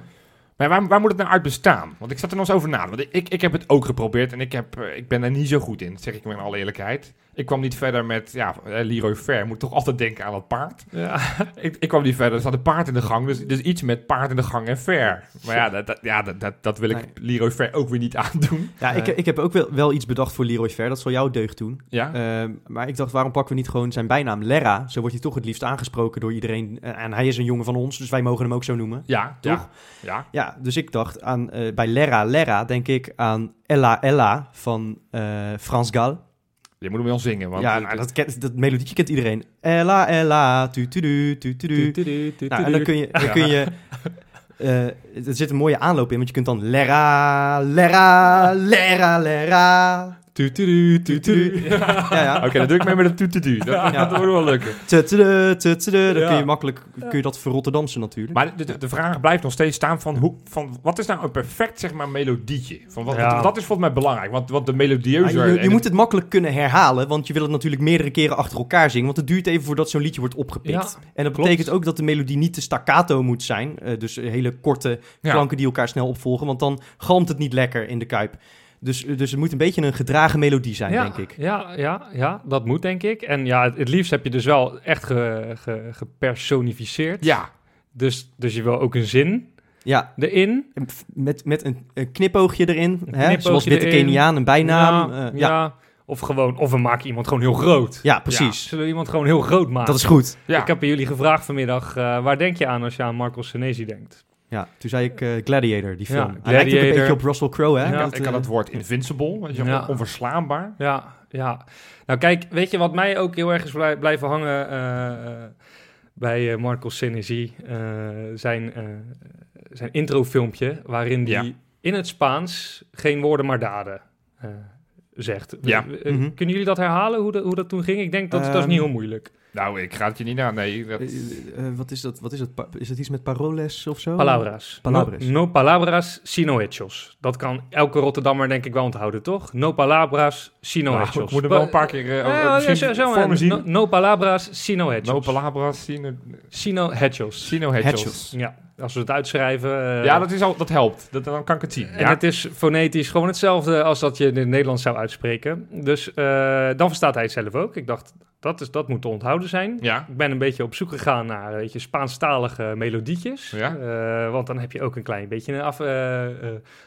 Maar waar, waar moet het nou uit bestaan? Want ik zat er nog eens over na. te- Want ik, ik heb het ook geprobeerd en ik, heb, eh, ik ben er niet zo goed in, zeg ik maar in alle eerlijkheid. Ik kwam niet verder met, ja, eh, Leroy Fair moet toch altijd denken aan dat paard. (laughs)
Ja.
Ik, ik kwam niet verder, er staat een paard in de gang, dus, dus iets met paard in de gang en fair. Maar ja, dat, dat, ja, dat, dat, dat wil ik Leroy Fair ook weer niet (laughs) aandoen.
Ja, ik,
Nee.
ik heb ook wel, wel iets bedacht voor Leroy Ver. Dat zal jou deugd doen.
Ja,
Ehm, maar ik dacht, waarom pakken we niet gewoon zijn bijnaam Lera? Zo wordt hij toch het liefst aangesproken door iedereen. En en hij is een jongen van ons, dus wij mogen hem ook zo noemen.
ja,
toch?
ja, ja.
Ja, dus ik dacht aan, eh, bij Lera Lera denk ik aan Ella Ella van eh Frans Gal.
Je moet hem wel zingen, want
ja,
het-
nou, dat, kent, dat melodietje kent iedereen. Ella Ella, tu tu du, tu tu du. Nou, en dan kun je... Dan kun je eh, er zit een mooie aanloop in, want je kunt dan Lera, Lera, Lera, Lera. (laughs)
Tutudu, tutudu.
Ja, ja.
Oké, dan doe ik mee met een tututu. Dat, dat wordt wel lukken.
Tutudu, tutudu. Dan kun je
Ja.
makkelijk kun je dat verrotterdamsen natuurlijk.
Maar de, de, de vraag blijft nog steeds staan van, hoe, van wat is nou een perfect zeg maar, melodietje? Van wat,
Ja.
dat, dat is volgens mij belangrijk, want, want de
Ja,
melodieuze...
je, je
en-
moet het makkelijk kunnen herhalen, want je wil het natuurlijk meerdere keren achter elkaar zingen. Want het duurt even voordat zo'n liedje wordt opgepikt. en dat
klopt.
betekent ook dat de melodie niet te staccato moet zijn. eh, dus hele korte
Ja.
klanken die elkaar snel opvolgen, want dan galmt het niet lekker in de kuip. Dus, eh, dus het moet een beetje een gedragen melodie zijn,
Ja,
denk ik.
Ja, ja, ja, dat moet denk ik. En ja, het, het liefst heb je dus wel echt ge, ge- gepersonificeerd.
Ja,
Dus, dus je wil ook een zin
Ja,
erin.
en pf- met, met een, een knipoogje erin, hè?
knipoogje
zoals Witte
erin.
Keniaan, een bijnaam. eh,
ja,
Ja, ja.
ja. Of gewoon, of we maken iemand gewoon heel groot.
precies.
Zullen we iemand gewoon heel groot maken?
Dat is goed.
ja.
Ik heb bij jullie gevraagd vanmiddag, eh, waar denk je aan als je aan Marco Senesi denkt?
Ja, toen zei ik eh, Gladiator, die
Ja,
film. Hij lijkt ook een
Gladiator.
beetje op Russell Crowe, hè?
ik,
Ja,
had, ik had
eh,
het woord invincible, weet je,
Ja.
onverslaanbaar.
Ja, ja. Nou kijk, weet je wat mij ook heel erg is blij- blijven hangen eh, eh, bij eh Marco Senesi? eh, zijn, eh zijn introfilmpje waarin hij
Ja.
in het Spaans geen woorden maar daden eh, zegt.
Ja.
Eh, eh,
Mhm.
Kunnen jullie dat herhalen, hoe, dat hoe dat toen ging? Ik denk dat dat is
Ehm,
niet heel moeilijk.
Nou, ik ga het je niet aan, nee. Dat,
Eh, eh, wat is dat? Wat is dat? Pa- Is dat iets met paroles of zo?
Palabras.
Palabras.
No, no palabras, sino hechos. Dat kan elke Rotterdammer denk ik wel onthouden, toch? No palabras, sino
Nou,
hechos.
ik moet hem wel een paar keer eh, eh, misschien voor me zien.
No, no palabras, sino hechos.
No palabras, sino,
Sino hechos.
sino hedgehogs.
Hedgehogs.
Ja, Als we het uitschrijven. eh,
ja, dat, is al, dat helpt. Dat, dan kan ik het zien.
En
Ja.
het is fonetisch gewoon hetzelfde als dat je in het Nederlands zou uitspreken. Dus eh, dan verstaat hij het zelf ook. Ik dacht, dat, is, dat moet te onthouden zijn.
ja.
Ik ben een beetje op zoek gegaan naar weet je, Spaanstalige melodietjes.
Ja.
Eh, want dan heb je ook een klein beetje een af, eh, eh,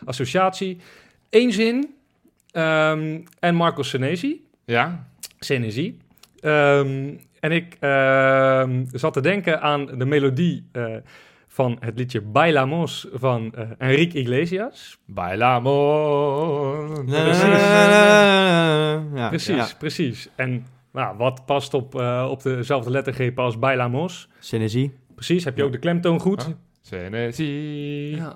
associatie. Eén zin. ehm, en Marco Senesi.
Ja.
Senesi. Ehm, en ik ehm, zat te denken aan de melodie eh, van het liedje Bailamos van eh, Enrique Iglesias.
Bailamos.
Eh,
Precies.
Ah, Ja,
Precies,
ja.
precies. En nou, wat past op, eh, op dezelfde lettergrepen als Bailamos?
Senesi,
Precies, heb je ook de klemtoon goed?
Huh? Senesi. Ja,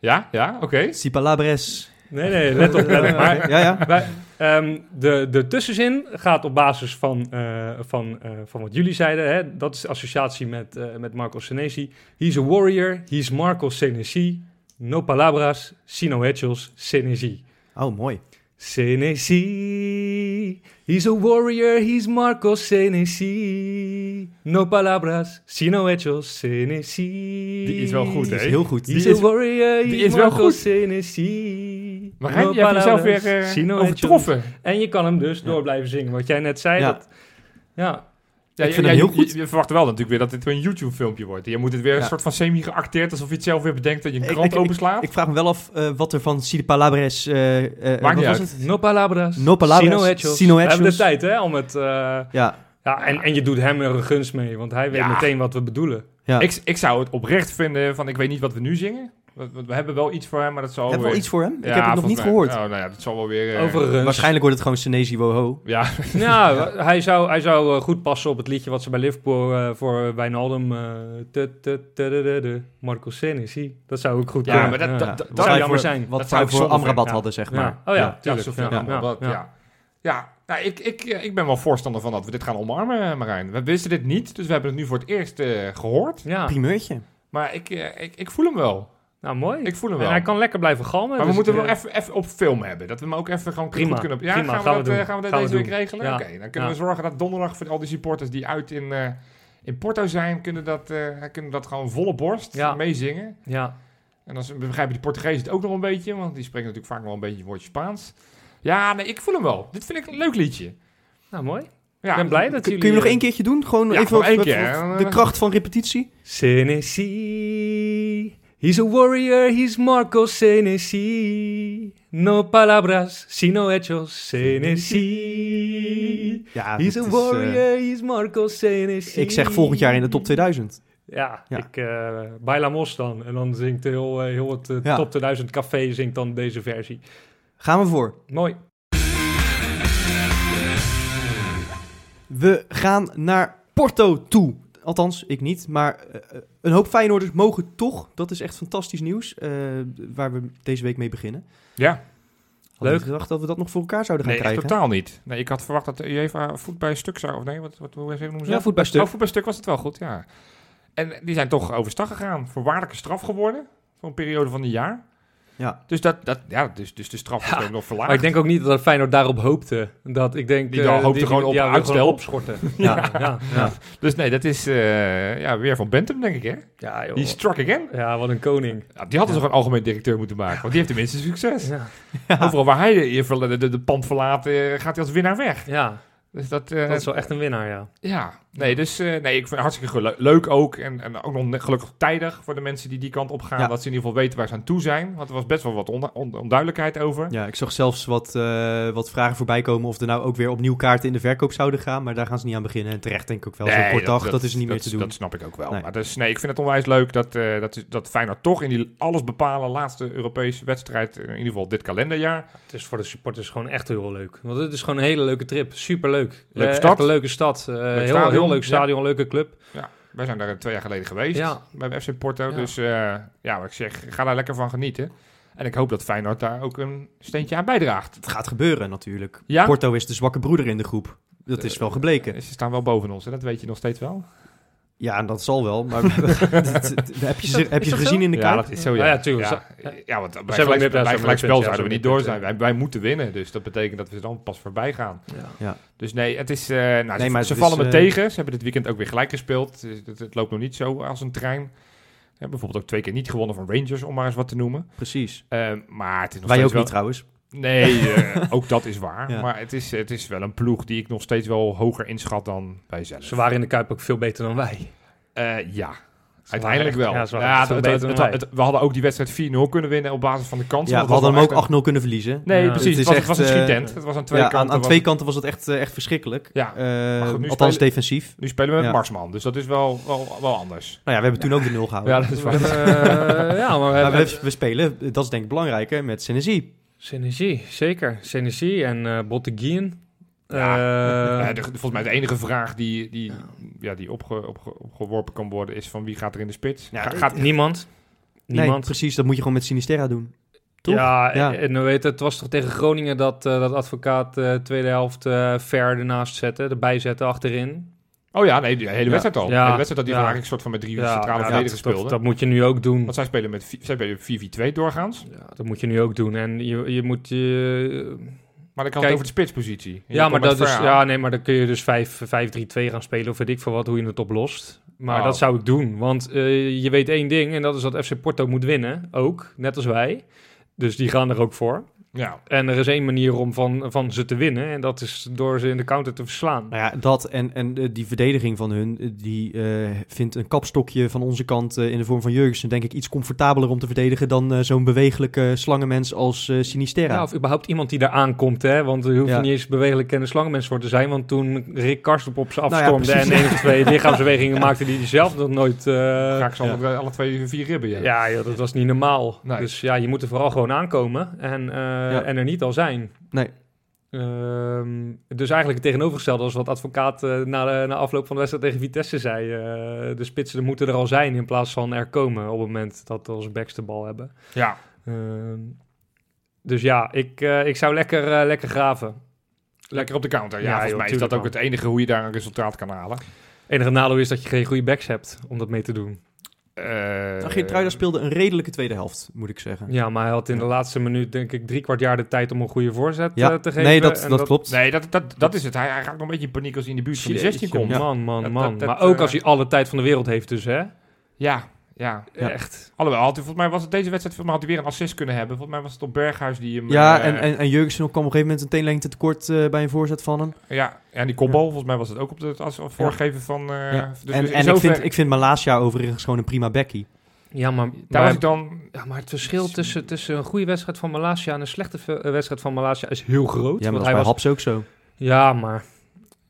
Ja.
ja, oké.
si palabres.
Nee, nee, let op. Let op. Maar
Ja, ja.
Wij- ehm, de, de tussenzin gaat op basis van, eh, van, eh, van wat jullie zeiden. Hè? Dat is de associatie met, eh, met Marco Senesi. He's a warrior, he's Marco Senesi. No palabras, sino hechos, Senesi.
Oh, mooi.
Senesi, he's a warrior, he's Marco Senesi. No palabras, sino hechos, Senesi.
Die is wel goed,
Die is
hè?
heel goed.
He's a warrior,
die
he's
is wel
Marco
goed.
Senesi.
Maar Rijn,
No
je hebt jezelf
palabras,
weer eh,
sino hechos.
overtroffen.
En je kan hem dus door blijven zingen. Wat jij net zei.
Ja.
Dat, ja.
Ja,
Ik
je-
vind
ja,
hem
je,
heel goed.
Je, je verwacht wel natuurlijk weer dat dit een YouTube-filmpje wordt. Je moet het weer
Ja.
een soort van semi-geacteerd, alsof je het zelf weer bedenkt dat je een
Ik-
krant
ik-
openslaat.
Ik vraag me wel af eh, wat er van si palabres... eh, eh, wat
niet
was
uit.
het?
No palabras.
No palabras,
Sino hechos.
sino
We hebben de
hechos.
tijd hè, om het... eh,
Ja,
ja, en, en je doet hem er een gunst mee. Want hij weet
Ja.
meteen wat we bedoelen.
ja.
ik, ik zou het oprecht vinden van, ik weet niet wat we nu zingen. We, we- we hebben wel iets voor hem, maar dat zal
heb
wel
je wel
weer-
iets voor hem?
Oh, Ja,
ik heb het nog
volgens
niet
mij-
gehoord.
Oh, nou ja, dat zal wel weer... eh,
Overigens.
Waarschijnlijk wordt het gewoon Senesi
(laughs)
Woho.
Ja,
Nou, hij zou, hij zou eh, goed passen op het liedje wat ze bij Liverpool eh, voor Wijnaldum... eh, tu- tu- tu- tu- tu- tu- Marco Senesi. Dat zou ook goed
Ja,
kunnen.
maar dat- dat-
Ja.
dat
Wat
zou
wij
jammer
voor-
zijn.
Wat
Dat
wij
zou ik
voor
zonde
Amrabat
vinden,
hadden, zeg
Ja.
maar.
Oh ja,
Ja,
tuurlijk.
zo van
Ja,
Amrabat,
ja,
ja. ja. nou, ik, ik, eh, ik ben wel voorstander van dat we dit gaan omarmen, eh, Marijn. We wisten dit niet, dus we hebben het nu voor het eerst eh, gehoord.
Ja,
Primeurtje.
Maar ik, eh, ik, ik voel hem wel.
nou mooi.
Ik voel hem
en
wel.
hij kan lekker blijven galmen.
maar we
dus,
moeten hem
eh,
wel even, even op film hebben. Dat we hem ook even gewoon
Prima,
goed kunnen... Ja,
prima,
gaan, we
gaan
dat,
we doen.
eh, gaan we dat
Gaan we
deze week
doen.
regelen?
Ja.
Oké, dan kunnen
Ja.
we zorgen dat donderdag voor al die supporters die uit in, eh, in Porto zijn... Kunnen dat, eh, kunnen dat gewoon volle borst
Ja.
meezingen.
Ja,
En dan begrijpen die Portugezen het ook nog een beetje, want die spreken natuurlijk vaak nog wel een beetje een woordje Spaans. Ja, nee, ik voel hem wel. Dit vind ik een leuk liedje.
nou mooi.
Ja,
Ik ben blij dat
Kun
jullie... eh,
kun je hem nog één keertje doen? Gewoon
Ja,
even
nog
op-
één
op-
keer,
op
hè.
de kracht van repetitie?
Senesi, he's a warrior, he's Marco Senesi. No palabras, sino hechos, Senesi.
Ja,
He's
dat
a
is, eh,
warrior, he's Marco Senesi.
ik zeg volgend jaar in de top 2000.
Ja,
Ja.
ik eh bijla mos dan. En dan zingt heel, eh, heel het eh,
Ja.
top 2000 café zingt dan deze versie.
Gaan we voor.
Mooi.
We gaan naar Porto toe. Althans, ik niet. Maar eh, een hoop Feyenoorders mogen toch. Dat is echt fantastisch nieuws. eh, waar we deze week mee beginnen.
Ja,
Hadden
Leuk.
we gedacht dat we dat nog voor elkaar zouden gaan
nee, echt
krijgen.
totaal niet. Nee, ik had verwacht dat de UEFA voet bij stuk zou... Of nee, wat, wat hoe noemen ze
Ja,
dat?
voet bij stuk.
Oh, voet bij stuk was het wel goed, ja. En die zijn toch overstag gegaan. Voorwaardelijke straf geworden. Voor een periode van een jaar.
Ja.
Dus, dat, dat, ja, dus, dus de straf is
Ja,
ook nog verlaagd.
Maar ik denk ook niet dat Feyenoord daarop hoopte. Dat ik denk...
Die
eh,
dan hoopte gewoon op
ja, wil
uitstel.
(laughs)
opschorten.
Ja.
ja, ja,
Ja.
ja.
Dus nee, dat is eh, ja, weer van Bentham, denk ik, hè?
ja joh.
Die struck again.
Ja, wat een koning.
Ja, die hadden ze gewoon algemeen directeur moeten maken. Want die heeft tenminste succes.
(laughs) Ja.
Overal waar hij de, de, de, de pand verlaat, eh, gaat hij als winnaar weg.
ja,
Dus dat, eh,
dat is wel echt een winnaar, ja.
ja. Nee, dus eh, nee, ik vind het hartstikke gelu- leuk ook. En, en ook nog net gelukkig tijdig voor de mensen die die kant op gaan.
Ja.
Dat ze in ieder geval weten waar ze aan toe zijn. Want er was best wel wat onda- on- onduidelijkheid over.
Ja, ik zag zelfs wat, eh, wat vragen voorbij komen of er nou ook weer opnieuw kaarten in de verkoop zouden gaan. Maar daar gaan ze niet aan beginnen. En terecht denk ik ook wel. Zo'n kort dag, dat, is niet meer te doen.
Dat snap ik ook wel.
Nee.
Maar dus, nee, ik vind het onwijs leuk dat, eh dat, is- dat Feyenoord toch in die alles bepalen laatste Europese wedstrijd, eh, in ieder geval dit kalenderjaar.
Het is voor de supporters gewoon echt heel leuk. Want het is gewoon een hele leuke trip. Superleuk.
Leuke
Eh,
stad.
echt een leuke stad. Eh, heel,
stadion.
heel leuk stadion, leuke club.
Wij zijn daar eh, twee jaar geleden geweest
Ja.
bij FC Porto.
Ja.
Dus eh, ja, wat ik zeg, ga daar lekker van genieten. En ik hoop dat Feyenoord daar ook een steentje aan bijdraagt.
Het gaat gebeuren natuurlijk.
Ja? Eh,
Porto is de zwakke broeder in de groep. Dat is wel gebleken.
Ze staan wel boven ons, hè? dat weet je nog steeds wel.
Ja, en dat zal
(laughs)
wel. Maar (laughs) heb je, ze- heb je
dat
gezien
zo?
in de
Ja,
kaart?
dat is zo,
Ja,
ja.
ja, tuurlijk.
Ja,
Zo-
ja, want bij
hebben ook
gelijk,
net
bij
als een
gelijk spel zouden
puntje,
we
als
niet
we
door
met
zijn. Wij, wij moeten winnen, dus dat betekent dat we dan pas voorbij gaan. Dus nee, het is, eh, nou,
Nee,
ze,
maar
ze
het is,
vallen me
eh,
tegen. Ze hebben dit weekend ook weer gelijk gespeeld. Dus Het, het loopt nog niet zo als een trein. Hè, bijvoorbeeld ook twee keer niet gewonnen van Rangers, om maar eens wat te noemen.
Precies.
Eh, maar het is nog
Wij ook
steeds
niet
wel-
trouwens.
Nee,
(laughs)
eh, ook dat is waar.
Ja.
Maar het is, het is wel een ploeg die ik nog steeds wel hoger inschat dan wij zelf.
Ze waren in de Kuip ook veel beter dan (laughs) wij.
Eh, ja, uiteindelijk wel.
Ja, ze waren
Ja,
echt veel
het-
beter
het-
dan wij.
het- het- we hadden ook die wedstrijd 4-0 kunnen winnen op basis van de kansen.
Ja,
want
we
dat
hadden hem
was
ook
wel echt
8-0 kunnen verliezen.
een- Nee,
Ja.
precies.
Het is
Het was, het was
echt,
een
eh,
schietend. Het was aan twee
ja, aan,
kanten.
aan
was-
twee kanten was het echt, eh, echt verschrikkelijk.
Ja.
Eh,
Maar goed, nu
althans
spelen-
defensief.
Nu spelen we met
Ja.
Marsman, dus dat is wel, wel, wel anders.
Nou ja, we hebben toen ook de nul gehouden.
Eh, Ja, dat is waar. ja, maar we
maar
hebben
we, we spelen, dat is denk ik belangrijker, met synergie.
Synergie, zeker. Synergie en eh Botteguin.
Ja.
(laughs) Eh,
Eh, de- volgens mij de enige vraag die, die, ja. die opge, opge- opgeworpen kan worden is van wie gaat er in de spits?
Ja,
Ga-
dit-
gaat,
niemand.
Nee,
Niemand.
precies, dat moet je gewoon met Sinisterra doen. toch?
Ja,
Ja.
en dan weet het, het was toch tegen Groningen dat, eh, dat advocaat eh tweede helft eh ver ernaast zette, erbij zette achterin.
oh ja, nee, de hele wedstrijd al.
Ja.
De hele wedstrijd dat die
Ja.
van eigenlijk soort van met drie centrale
dat,
verdedigers
dat,
speelde.
dat moet je nu ook doen.
Want zij spelen met vi- zij spelen 4-4-2 doorgaans.
Ja, dat moet je nu ook doen. En je, je moet je...
Maar dan kan
Kijk-
het over de spitspositie. En
Ja,
je
maar
komt
dat
met
is,
Ver aan.
ja, nee, maar dan kun je dus 5-3-2 gaan spelen of weet ik veel wat, hoe je het oplost. Maar
Oh.
dat zou ik doen, want eh, je weet één ding en dat is dat FC Porto moet winnen, ook, net als wij. Dus die gaan er ook voor.
Ja.
En er is één manier om van, van ze te winnen en dat is door ze in de counter te verslaan.
Nou ja, dat en, en eh, die verdediging van hun, eh, die eh, vindt een kapstokje van onze kant eh, in de vorm van Jurgensen, denk ik, iets comfortabeler om te verdedigen dan eh, zo'n bewegelijke slangenmens als eh, Sinisterra.
Ja, of überhaupt iemand die daar aankomt, hè? Want er hoeft
Ja.
niet eens bewegelijk en een slangenmens voor te zijn. Want toen Rick Karsten op ze
Nou ja,
afstormde en
precies.
één of
(laughs)
twee lichaamsbewegingen maakte die hij zelf nog nooit... eh,
Ga ik ze alle, alle twee vier ribben, ja.
Ja, joh, dat was niet normaal.
Nee.
Dus ja, je moet er vooral gewoon aankomen en, eh, en er niet al zijn.
Nee.
Ehm, dus eigenlijk het tegenovergestelde als wat advocaat eh, na, de- na afloop van de wedstrijd tegen Vitesse zei. eh, de spitsen moeten er al zijn in plaats van er komen op het moment dat onze backs de bal hebben.
Ja.
Ehm, dus ja, ik, eh, ik zou lekker, eh, lekker graven.
Lekker op de counter. Ja,
Ja,
volgens
joh,
mij is dat
tuurlijk
ook het enige hoe je daar een resultaat kan halen.
enige nadeel is dat je geen goede backs hebt om dat mee te doen.
Uh,
Nou, Geertruida speelde een redelijke tweede helft, moet ik zeggen.
Ja, maar hij had in de laatste minuut denk ik drie kwart jaar de tijd om een goede voorzet
Ja,
eh, te geven.
nee, dat,
En
dat, klopt.
Nee, dat, dat, dat is het. Hij, hij raakt nog een beetje in paniek als hij in de buurt van de 16
Jeetje,
komt. Ja,
Man, man,
Dat-
man.
dat- dat,
maar ook
eh,
als hij alle tijd van de wereld heeft dus, hè?
ja. ja.
Ja.
Echt.
Alhoewel, had hij, volgens mij was het deze wedstrijd, volgens mij had hij weer een assist kunnen hebben. Volgens mij was het op Berghuis die hem...
Ja,
eh,
en, en, en Jurgensen kwam op een gegeven moment een teenlengte tekort eh, bij een voorzet van hem.
Ja, en die kopbal, volgens mij was het ook op het as- voorgeven van... eh,
Ja.
dus-
en
dus in
en ik,
zover-
vind, ik vind Malasia overigens gewoon een prima bekkie.
Ja, maar,
Daar
maar,
was ik
Nou,
dan...
ja, maar het verschil tussen, tussen een goede wedstrijd van Malaysia en een slechte ve- eh, wedstrijd van Malaysia is heel groot.
Ja, maar dat
want
is bij
hij was,
Haps ook zo.
ja, maar...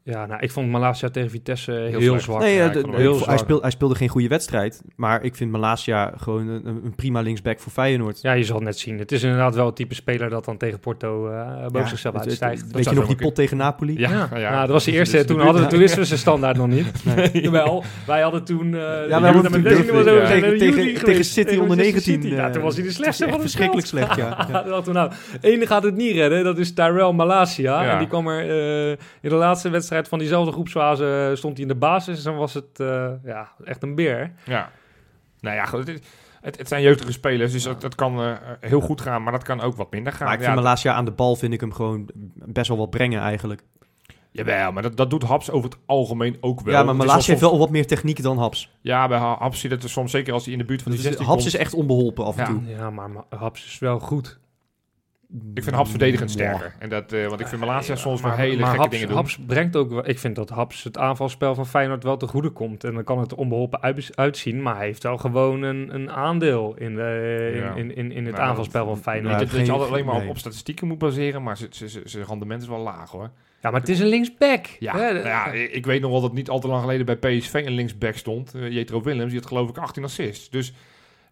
Ja, nou, ik vond Malaysia tegen Vitesse heel,
slecht.
zwak.
Nee,
ja,
eh,
ik
de-
vond hem
de-
heel
vo- hij,
zwak.
speelde, hij speelde geen goede wedstrijd. Maar ik vind Malasia gewoon een, een een prima linksback voor Feyenoord.
Ja, je zal het net zien. Het is inderdaad wel het type speler dat dan tegen Porto eh boven
Ja,
zichzelf
het- het-
uitstijgt.
Weet je
zou
nog die
zomaar
pot tegen Napoli?
Ja, ja.
Nou, dat
(laughs)
was de eerste.
dus
toen,
de-
hadden,
ja.
toen wisten we zijn standaard nog
(laughs)
niet. (laughs)
Nee.
Jawel, wij hadden toen...
Ja,
eh, de
wij hadden
Juve-
toen
de Juve
tegen-
was over-
tegen-
zijn naar de
tegen-
Juve
tegen
geweest.
City onder
Manchester
19,
Ja, toen was hij de
eh,
slechtste
echt
van het
verschrikkelijk
veld. (laughs)
slecht, ja. Ja.
Toen dachten we, nou, Eén gaat het niet redden, dat is Tyrell Malasia.
Ja.
En die kwam er eh, in de laatste wedstrijd van diezelfde groepsfase, eh, stond hij in de basis. En was het eh, ja, echt een beer.
Ja. Nou ja, goed, het, is- het, het zijn jeugdige spelers, dus dat, dat kan eh, heel goed gaan, maar dat kan ook wat minder gaan.
Maar ik
ja,
vind Malasia aan de bal vind ik hem gewoon best wel wat brengen eigenlijk.
Jawel, maar dat, dat doet Haps over het algemeen ook wel.
ja,
Het
maar
is
Malasia heeft
soms-
wel wat meer techniek dan Haps.
Ja, bij Ha- Haps zit het er soms, zeker als hij in de buurt van die
Dus
16
Haps
komt.
is echt onbeholpen af en
Ja.
toe.
Ja, maar Ma- Haps is wel goed.
Ik vind Haps verdedigend
Ja.
sterker. En dat, eh, want ik vind Malasia
Ja,
soms
maar-
wel hele
maar
gekke
Haps,
dingen doen.
Haps brengt ook wel... Ik vind dat Haps het aanvalspel van Feyenoord wel te goede komt. En dan kan het onbeholpen uit- uitzien. Maar hij heeft wel gewoon een, een aandeel in, de, in,
Ja.
in, in, in het
Nou,
aanvalspel van
Niet
Feyenoord.
Ja,
dat, dat
geen-
je altijd alleen maar op,
nee.
op statistieken moet baseren, maar zijn- zijn- zijn zijn rendement is wel laag hoor.
Ja, maar het is een linksback.
Ja,
Hè,
nou ja, ik ik weet nog wel dat niet al te lang geleden bij PSV een linksback stond. eh, Jetro Willems, die had geloof ik 18 assists. Dus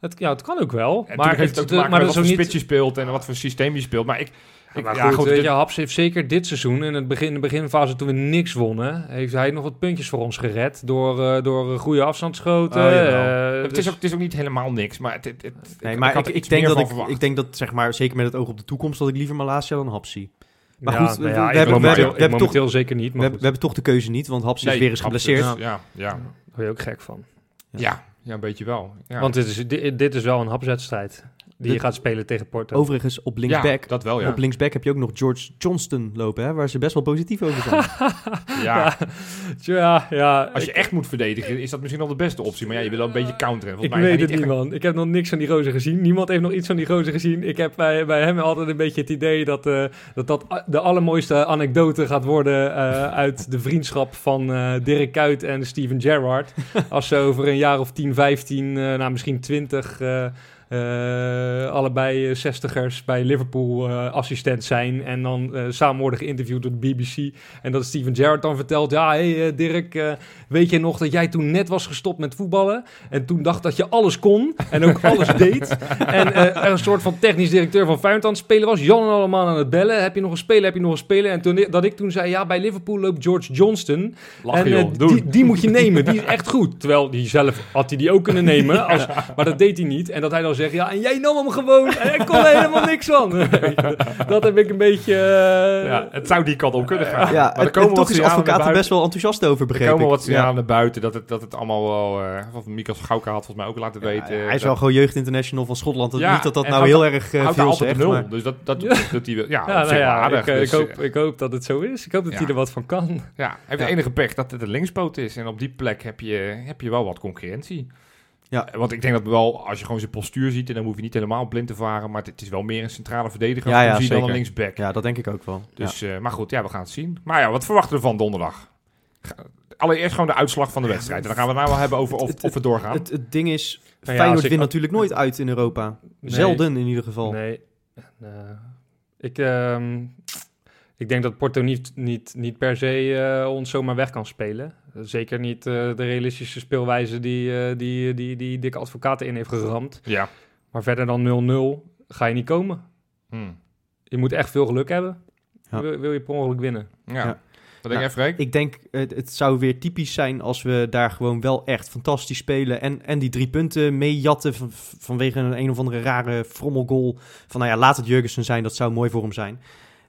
en
Het, ja, het kan ook wel.
natuurlijk heeft het ook te maken met
dat
wat
is
voor
ook
spits je speelt en wat voor systeem je speelt. Maar ik,
Ja,
ik
maar
ja,
goed, weet
dit-
je, Haps heeft zeker dit seizoen, in, het begin, in de beginfase toen we niks wonnen, heeft hij nog wat puntjes voor ons gered. Door, eh, door eh, goede afstandsschoten.
Oh, jawel.
eh,
het,
dus-
is ook, het is ook niet helemaal niks, maar het, het, het-
Nee,
ik-
maar
ik
ik,
had
ik,
er iets
denk
meer
dat
van
ik,
verwacht.
ik denk dat, zeg maar, zeker met het oog op de toekomst, dat ik liever Malasia dan Haps zie. Maar
Ja,
goed,
nou
we-
ja,
we
ik
hebben-
momenteel-
we hebben- we hebben
ik momenteel zeker niet,
We,
maar
hebben- we
goed, daar
hebben toch de keuze niet, want Haps
Nee,
is weer eens
absoluut.
geblesseerd.
Ja, ja,
word je ook gek van.
ja. ja, een beetje wel. Ja.
Want dit is, dit, dit is wel een hapswedstrijd. Die
De-
gaat spelen tegen Porto.
Overigens, op linksback,
Ja, dat wel, ja.
op linksback heb je ook nog George Johnston lopen, hè, waar ze best wel positief
(laughs)
over zijn.
ja.
ja, ja.
Als je
ik-
echt moet verdedigen, is dat misschien al de beste optie. Maar ja, je wil wel een beetje counteren.
Ik
Volgens mij
weet
is hij
het niet,
echt
man. Ik heb nog niks van die rozen gezien. Niemand heeft nog iets van die rozen gezien. Ik heb bij, bij hem altijd een beetje het idee dat eh, dat, dat a- de allermooiste anekdote gaat worden eh, uit de vriendschap van eh, Dirk Kuyt en Steven Gerrard. Als ze over een jaar of 10, 15, eh, nou misschien 20, eh, eh, allebei eh, 60ers bij Liverpool eh, assistent zijn. En dan eh, samen worden geïnterviewd door de BBC. En dat Steven Gerrard dan vertelt: Ja, hey, eh, Dirk, eh, weet je nog dat jij toen net was gestopt met voetballen? En toen dacht dat je alles kon en ook (laughs) alles deed. En eh, er een soort van technisch directeur van Feyenoord aan het spelen was. Jan en allemaal aan het bellen. Heb je nog een speler? Heb je nog een speler? En toen, dat ik toen zei, ja, bij Liverpool loopt George Johnston.
Lachen,
en, eh,
joh. Doen.
die, die moet je nemen. Die is echt goed. (laughs) Terwijl die zelf had hij die ook kunnen nemen. Als, maar dat deed hij niet. En dat hij dan zegt, ja, en jij nam hem gewoon. En ik kon er helemaal niks (laughs) van. dat heb ik een beetje... eh,
Ja, het zou die kant op kunnen gaan.
ja,
maar er
en,
komen
en
wat
toch is
signalen
advocaat er
naar
best wel enthousiast over,
Er
begreep
komen
ik.
wat
Ja.
signalen naar buiten dat het, dat het allemaal wel... eh wat Mikos Gauka had volgens mij ook laten weten. eh,
hij is
dat-
wel gewoon jeugdinternational van Schotland.
Ja,
niet dat dat
en
nou
houdt-
heel erg eh,
houdt daar
veel
altijd
zegt.
op nul.
maar-
Dus dat, dat, dat hij wel... Ja,
Ja,
op zich
nou ja,
wel Ah, aardig.
ik, eh,
dus,
ik, hoop,
eh,
ik hoop dat het zo is. Ik hoop dat
Ja.
hij er wat van kan.
ja, hij heeft de
Ja.
enige pech dat het een linkspoot is. En op die plek heb je, heb je wel wat concurrentie.
Ja.
Eh, Want ik denk dat wel, als je gewoon zijn postuur ziet... en dan hoef je niet helemaal blind te varen... maar het, het is wel meer een centrale verdediger...
Ja, ja,
functie dan een
zeker.
linksback.
Ja, dat denk ik ook wel. Ja.
Dus, eh, maar goed, ja, we gaan het zien. Maar ja, wat verwachten we van donderdag? Ga- Allereerst gewoon de uitslag van de wedstrijd. En dan gaan we het nou wel hebben over of,
Het-
of we doorgaan.
Het, het ding is,
Nou
ja,
Feyenoord
als ik-
wint natuurlijk nooit uit in Europa.
Nee.
Zelden in ieder geval.
Nee. En, eh, ik, ehm, ik denk dat Porto niet, niet, niet per se eh, ons zomaar weg kan spelen. Zeker niet eh, de realistische speelwijze die, eh, die, die, die dikke advocaten in heeft geramd.
Ja.
Maar verder dan 0-0 ga je niet komen.
Hmm.
Je moet echt veel geluk hebben.
Ja.
Wil, wil je per ongeluk winnen?
ja.
Ja.
Wat denk jij,
Nou,
Freek?
Ik denk, eh, het, het zou weer typisch zijn als we daar gewoon wel echt fantastisch spelen. En, en die drie punten meejatten van, vanwege een een of andere rare frommelgoal. Van nou ja, laat het Jurgensen zijn, dat zou mooi voor hem zijn.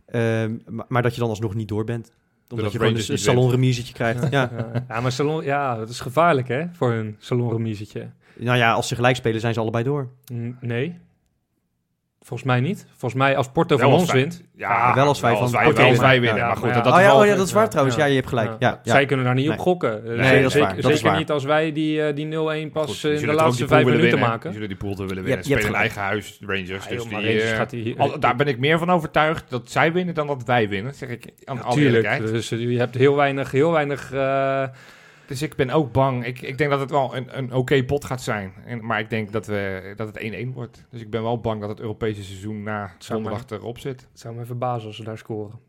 Ehm, maar, maar dat je dan alsnog niet door bent. Omdat
Rangers
je gewoon
niet
een, een
wint.
salonremisetje krijgt. Ja.
Eh, Ja, ja, maar salon, ja, dat is gevaarlijk hè, voor hun salonremiesetje.
Nou ja, als ze gelijk spelen zijn ze allebei door.
N- nee. Volgens mij niet. Volgens mij als Porto
Wel
van
als
ons
wij-
wint.
Ja,
wel als wij van-
wel als
oké,
wij,
maar-
winnen.
ja,
maar goed,
maar
dat,
ja.
dat
oh
is
ja,
wel-
oh ja, dat is waar
ja,
trouwens. Ja,
ja.
je hebt gelijk. Ja, ja,
Zij kunnen daar niet
Nee.
op gokken. Eh,
Nee, dat is
zeker
waar, dat is
zeker
waar. dus
niet als wij die, eh, die 0-1
Goed,
pas
die
eh,
zullen
in de
toch ook
laatste
die
vijf
pool willen
minuten
winnen.
maken.
Die zullen die pool te willen
Je
winnen.
hebt-
Ze
je hebt
spelen in
gelijk. Ah,
eigen huis, de Rangers.
Ja, joh,
Dus die,
maar Rangers
eh,
gaat die-
al- daar ben ik meer van overtuigd dat zij winnen dan dat wij winnen. Zeg ik aan alle
Tuurlijk,
eerlijkheid.
dus eh, je hebt heel weinig, heel weinig eh,
Dus ik ben ook bang. Ik, ik denk dat het wel een, een oké pot gaat zijn. En, maar ik denk dat, we, dat het 1-1 wordt. Dus ik ben wel bang dat het Europese seizoen na
zou
zondag erop zit.
het zou me verbazen als ze daar scoren.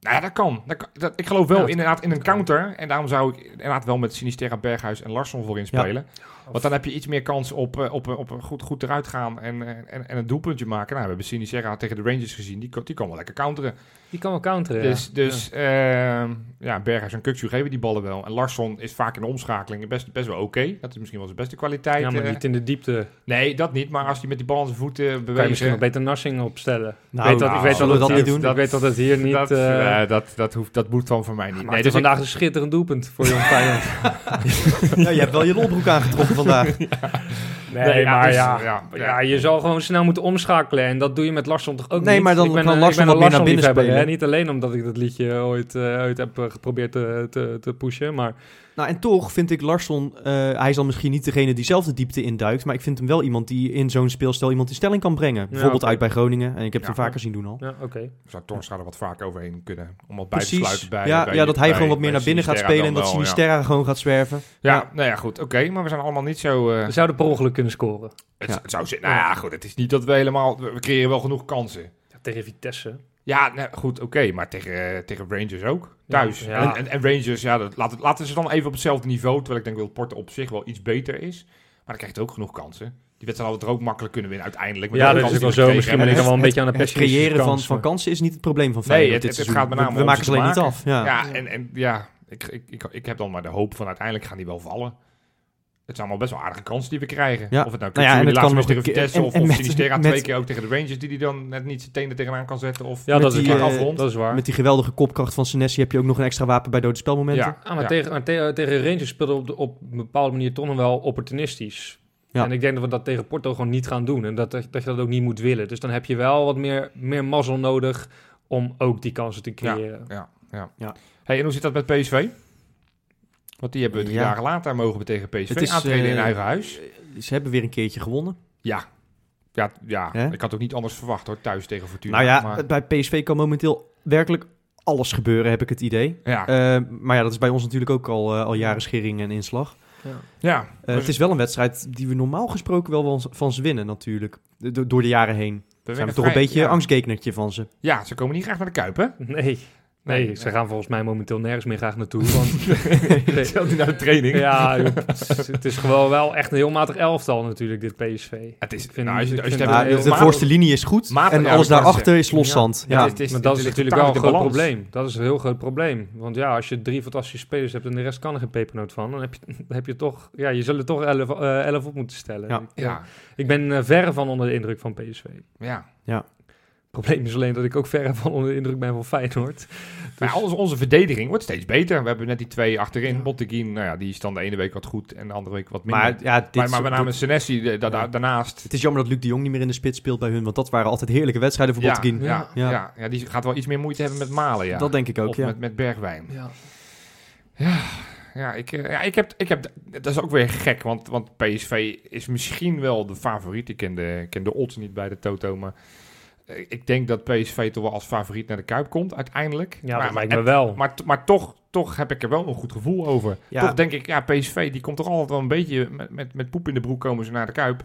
Nou ja, dat kan. Dat kan- dat- ik geloof wel
Ja, dat-
inderdaad in een
dat kan.
counter. En daarom zou ik inderdaad wel met Sinisterra, Berghuis en Larsson voorin
Ja.
spelen. Want dan heb je iets meer kans op, eh, op, op een goed, goed eruit gaan en, eh, en, en een doelpuntje maken. Nou, we hebben Sinisterra tegen de Rangers gezien. Die, kon- die kan wel lekker counteren.
Die kan wel counteren. ja.
Dus, dus ehm, ja, Berghuis en Kukcu geven die ballen wel. En Larsson is vaak in de omschakeling best, best wel oké. Dat is misschien wel zijn beste
ja.
kwaliteit.
Ja, maar
eh.
niet in de diepte.
Nee, dat niet. Maar als hij met die bal aan zijn voeten
Kan je
beweegt...
misschien nog
eh,
beter Narsing opstellen.
Nou,
ik weet dat,
nou,
ik weet dat,
zullen we
het
dat
hier-
niet doen?
Ik weet dat het hier niet...
dat,
eh,
eh, dat, dat, hoeft, dat moet dan voor mij niet.
maar nee, dus
ik-
vandaag een schitterend doelpunt voor Jong Feyenoord.
Ja, je hebt wel je lolbroek aangetrokken vandaag.
Nee,
Nee, ja,
maar
dus-
ja,
ja,
ja,
ja.
je zal gewoon snel moeten omschakelen. En dat doe je met Larsson toch ook
Nee,
niet?
maar dan
ik ben
kan
een-
Larsson
ik ben een
wat meer naar binnen
Larsson-liefhebber,
spelen.
hè. Niet alleen omdat ik dat liedje ooit, eh, ooit heb eh, geprobeerd te, te, te pushen. Maar
Nou, en toch vind ik Larsson, eh, hij is dan misschien niet degene die zelf de diepte induikt, maar ik vind hem wel iemand die in zo'n speelstijl iemand in stelling kan brengen. Bijvoorbeeld
oké.
uit bij Groningen, en ik heb het
Ja.
hem vaker zien doen al.
ja, oké.
zou Torstra er wat vaker overheen kunnen. Om wat bij te
Precies,
sluiten bij...
ja,
bij-
ja, dat hij
bij-
gewoon wat meer
bij
naar binnen gaat
Sinisterra
spelen en
dan
dat
wel, ja.
Sinisterra gewoon gaat zwerven.
Ja,
Ja.
nou ja, goed. Oké, maar we zijn allemaal niet zo... eh,
We zouden per ongeluk kunnen scoren.
het,
Ja.
het zou zijn... Nou ja, goed. Het is niet dat we helemaal... We we creëren wel genoeg kansen.
Ja, tegen Vitesse.
Ja, nou, goed, oké. maar tegen, eh, tegen Rangers ook. Thuis.
Ja, ja.
En, en, en Rangers, ja, dat, laten, laten ze dan even op hetzelfde niveau. Terwijl ik denk dat Porto op zich wel iets beter is. Maar dan krijgt hij ook genoeg kansen. Die wedstrijd hadden we er ook makkelijk kunnen winnen uiteindelijk. met
Ja,
de
dat is ook wel
kansen die
zo.
we
Misschien ben
kregen.
ik dan wel
Het-
een beetje aan de
het
pessimistische
creëren van,
kant,
van
maar-
kansen is niet het probleem van
Nee, het-
Feyenoord dit
het gaat
seizoen.
met name
we,
om
we maken
ze
ze alleen
te
niet
maken.
af. Ja.
Ja, en, en ja, ik, ik, ik, ik heb dan maar de hoop van uiteindelijk gaan die wel vallen. Het zijn allemaal best wel aardige kansen die we krijgen.
Ja.
Of het nou,
Nou ja,
nou
en
de
het
laatste was
kan nog
tegen
een keer-
Vitesse
en-
of,
en
of
met-
Sinistera
met-
twee keer ook tegen de Rangers die die dan net niet zijn tenen er tegenaan kan zetten. Of
Ja, dat
Met
is,
die,
waar.
eh,
dat is waar.
Met die geweldige kopkracht van Senesi heb je ook nog een extra wapen bij dode spelmomenten.
ja,
Ah, maar
ja.
tegen, maar te- tegen Rangers speelde op, de- op een bepaalde manier toch nog wel opportunistisch.
Ja.
En ik denk dat we dat tegen Porto gewoon niet gaan doen. En dat, dat dat je dat ook niet moet willen. Dus dan heb je wel wat meer, meer mazzel nodig om ook die kansen te creëren.
Ja, ja.
Ja.
Hey, en hoe zit dat met PSV? Want die hebben drie
Ja.
dagen later mogen we tegen PSV
Het is,
aantreden in
eh,
eigen huis.
Ze hebben weer een keertje gewonnen.
Ja, ja, ja.
Hè?
ik had ook niet anders verwacht hoor, thuis tegen Fortuna.
nou ja,
maar,
bij PSV kan momenteel werkelijk alles gebeuren, heb ik het idee.
ja,
Eh, maar ja, dat is bij ons natuurlijk ook al, eh, al jaren schering en inslag.
ja.
Eh, het is wel een wedstrijd die we normaal gesproken wel van- van ze winnen natuurlijk. Do- door de jaren heen.
we
zijn
winnen
we toch een
vrij-
beetje
ja.
angstgeeknertje van ze.
Ja, ze komen niet graag naar de Kuip, hè?
Nee. Nee,
Nee,
ze
nee.
gaan volgens mij momenteel nergens meer graag naartoe.
(laughs)
Want
Zelfs niet naar de training.
ja, joh, het is gewoon wel echt een heel matig elftal natuurlijk, dit PSV.
Het is,
Ik vind-
nou, als je,
ik
als je het
vind het
hebt
Maar
heel
over
de
matig.
voorste linie is goed
Matig,
en
ja,
alles
dat kan
daarachter is loszand.
Ja,
Ja,
het is-
maar dat is
ligt
natuurlijk
totaal
wel een
in de
groot
balans.
probleem. Dat is een heel groot probleem. Want ja, als je drie fantastische spelers hebt en de rest kan er geen pepernoot van, dan heb je, (laughs) dan heb je toch, ja, je zult er toch elf, eh, elf op moeten stellen.
Ja.
Ik, eh,
Ja,
ik ben eh, verre van onder de indruk van PSV.
ja.
probleem is alleen dat ik ook verre van onder de indruk ben van Feyenoord. Dus-
Maar onze, onze verdediging wordt steeds beter. We hebben net die twee achterin. Botteguin, nou ja, die is dan de ene week wat goed en de andere week wat minder.
maar ja, dit,
maar, maar met name
dit-
Senesi de- da- da-
Ja.
daarnaast.
het is jammer dat Luc de Jong niet meer in de spits speelt bij hun, want dat waren altijd heerlijke wedstrijden voor
Ja,
Botteguin.
ja, ja.
Ja.
ja, die gaat wel iets meer moeite hebben met malen, ja.
Dat denk ik ook,
of
ja.
met, met Bergwijn.
Ja.
Ja, ik, eh, ja ik, heb, ik heb... Dat is ook weer gek, want, want PSV is misschien wel de favoriet. Ik ken de, ik ken de odds niet bij de Toto, maar... eh, Ik denk dat PSV toch wel als favoriet naar de Kuip komt, uiteindelijk.
Ja, dat lijkt
en-
me wel.
Maar, t- maar toch, toch heb ik er wel een goed gevoel over.
Ja.
Toch denk ik, ja, PSV die komt toch altijd wel een beetje met, met, met poep in de broek komen ze naar de Kuip.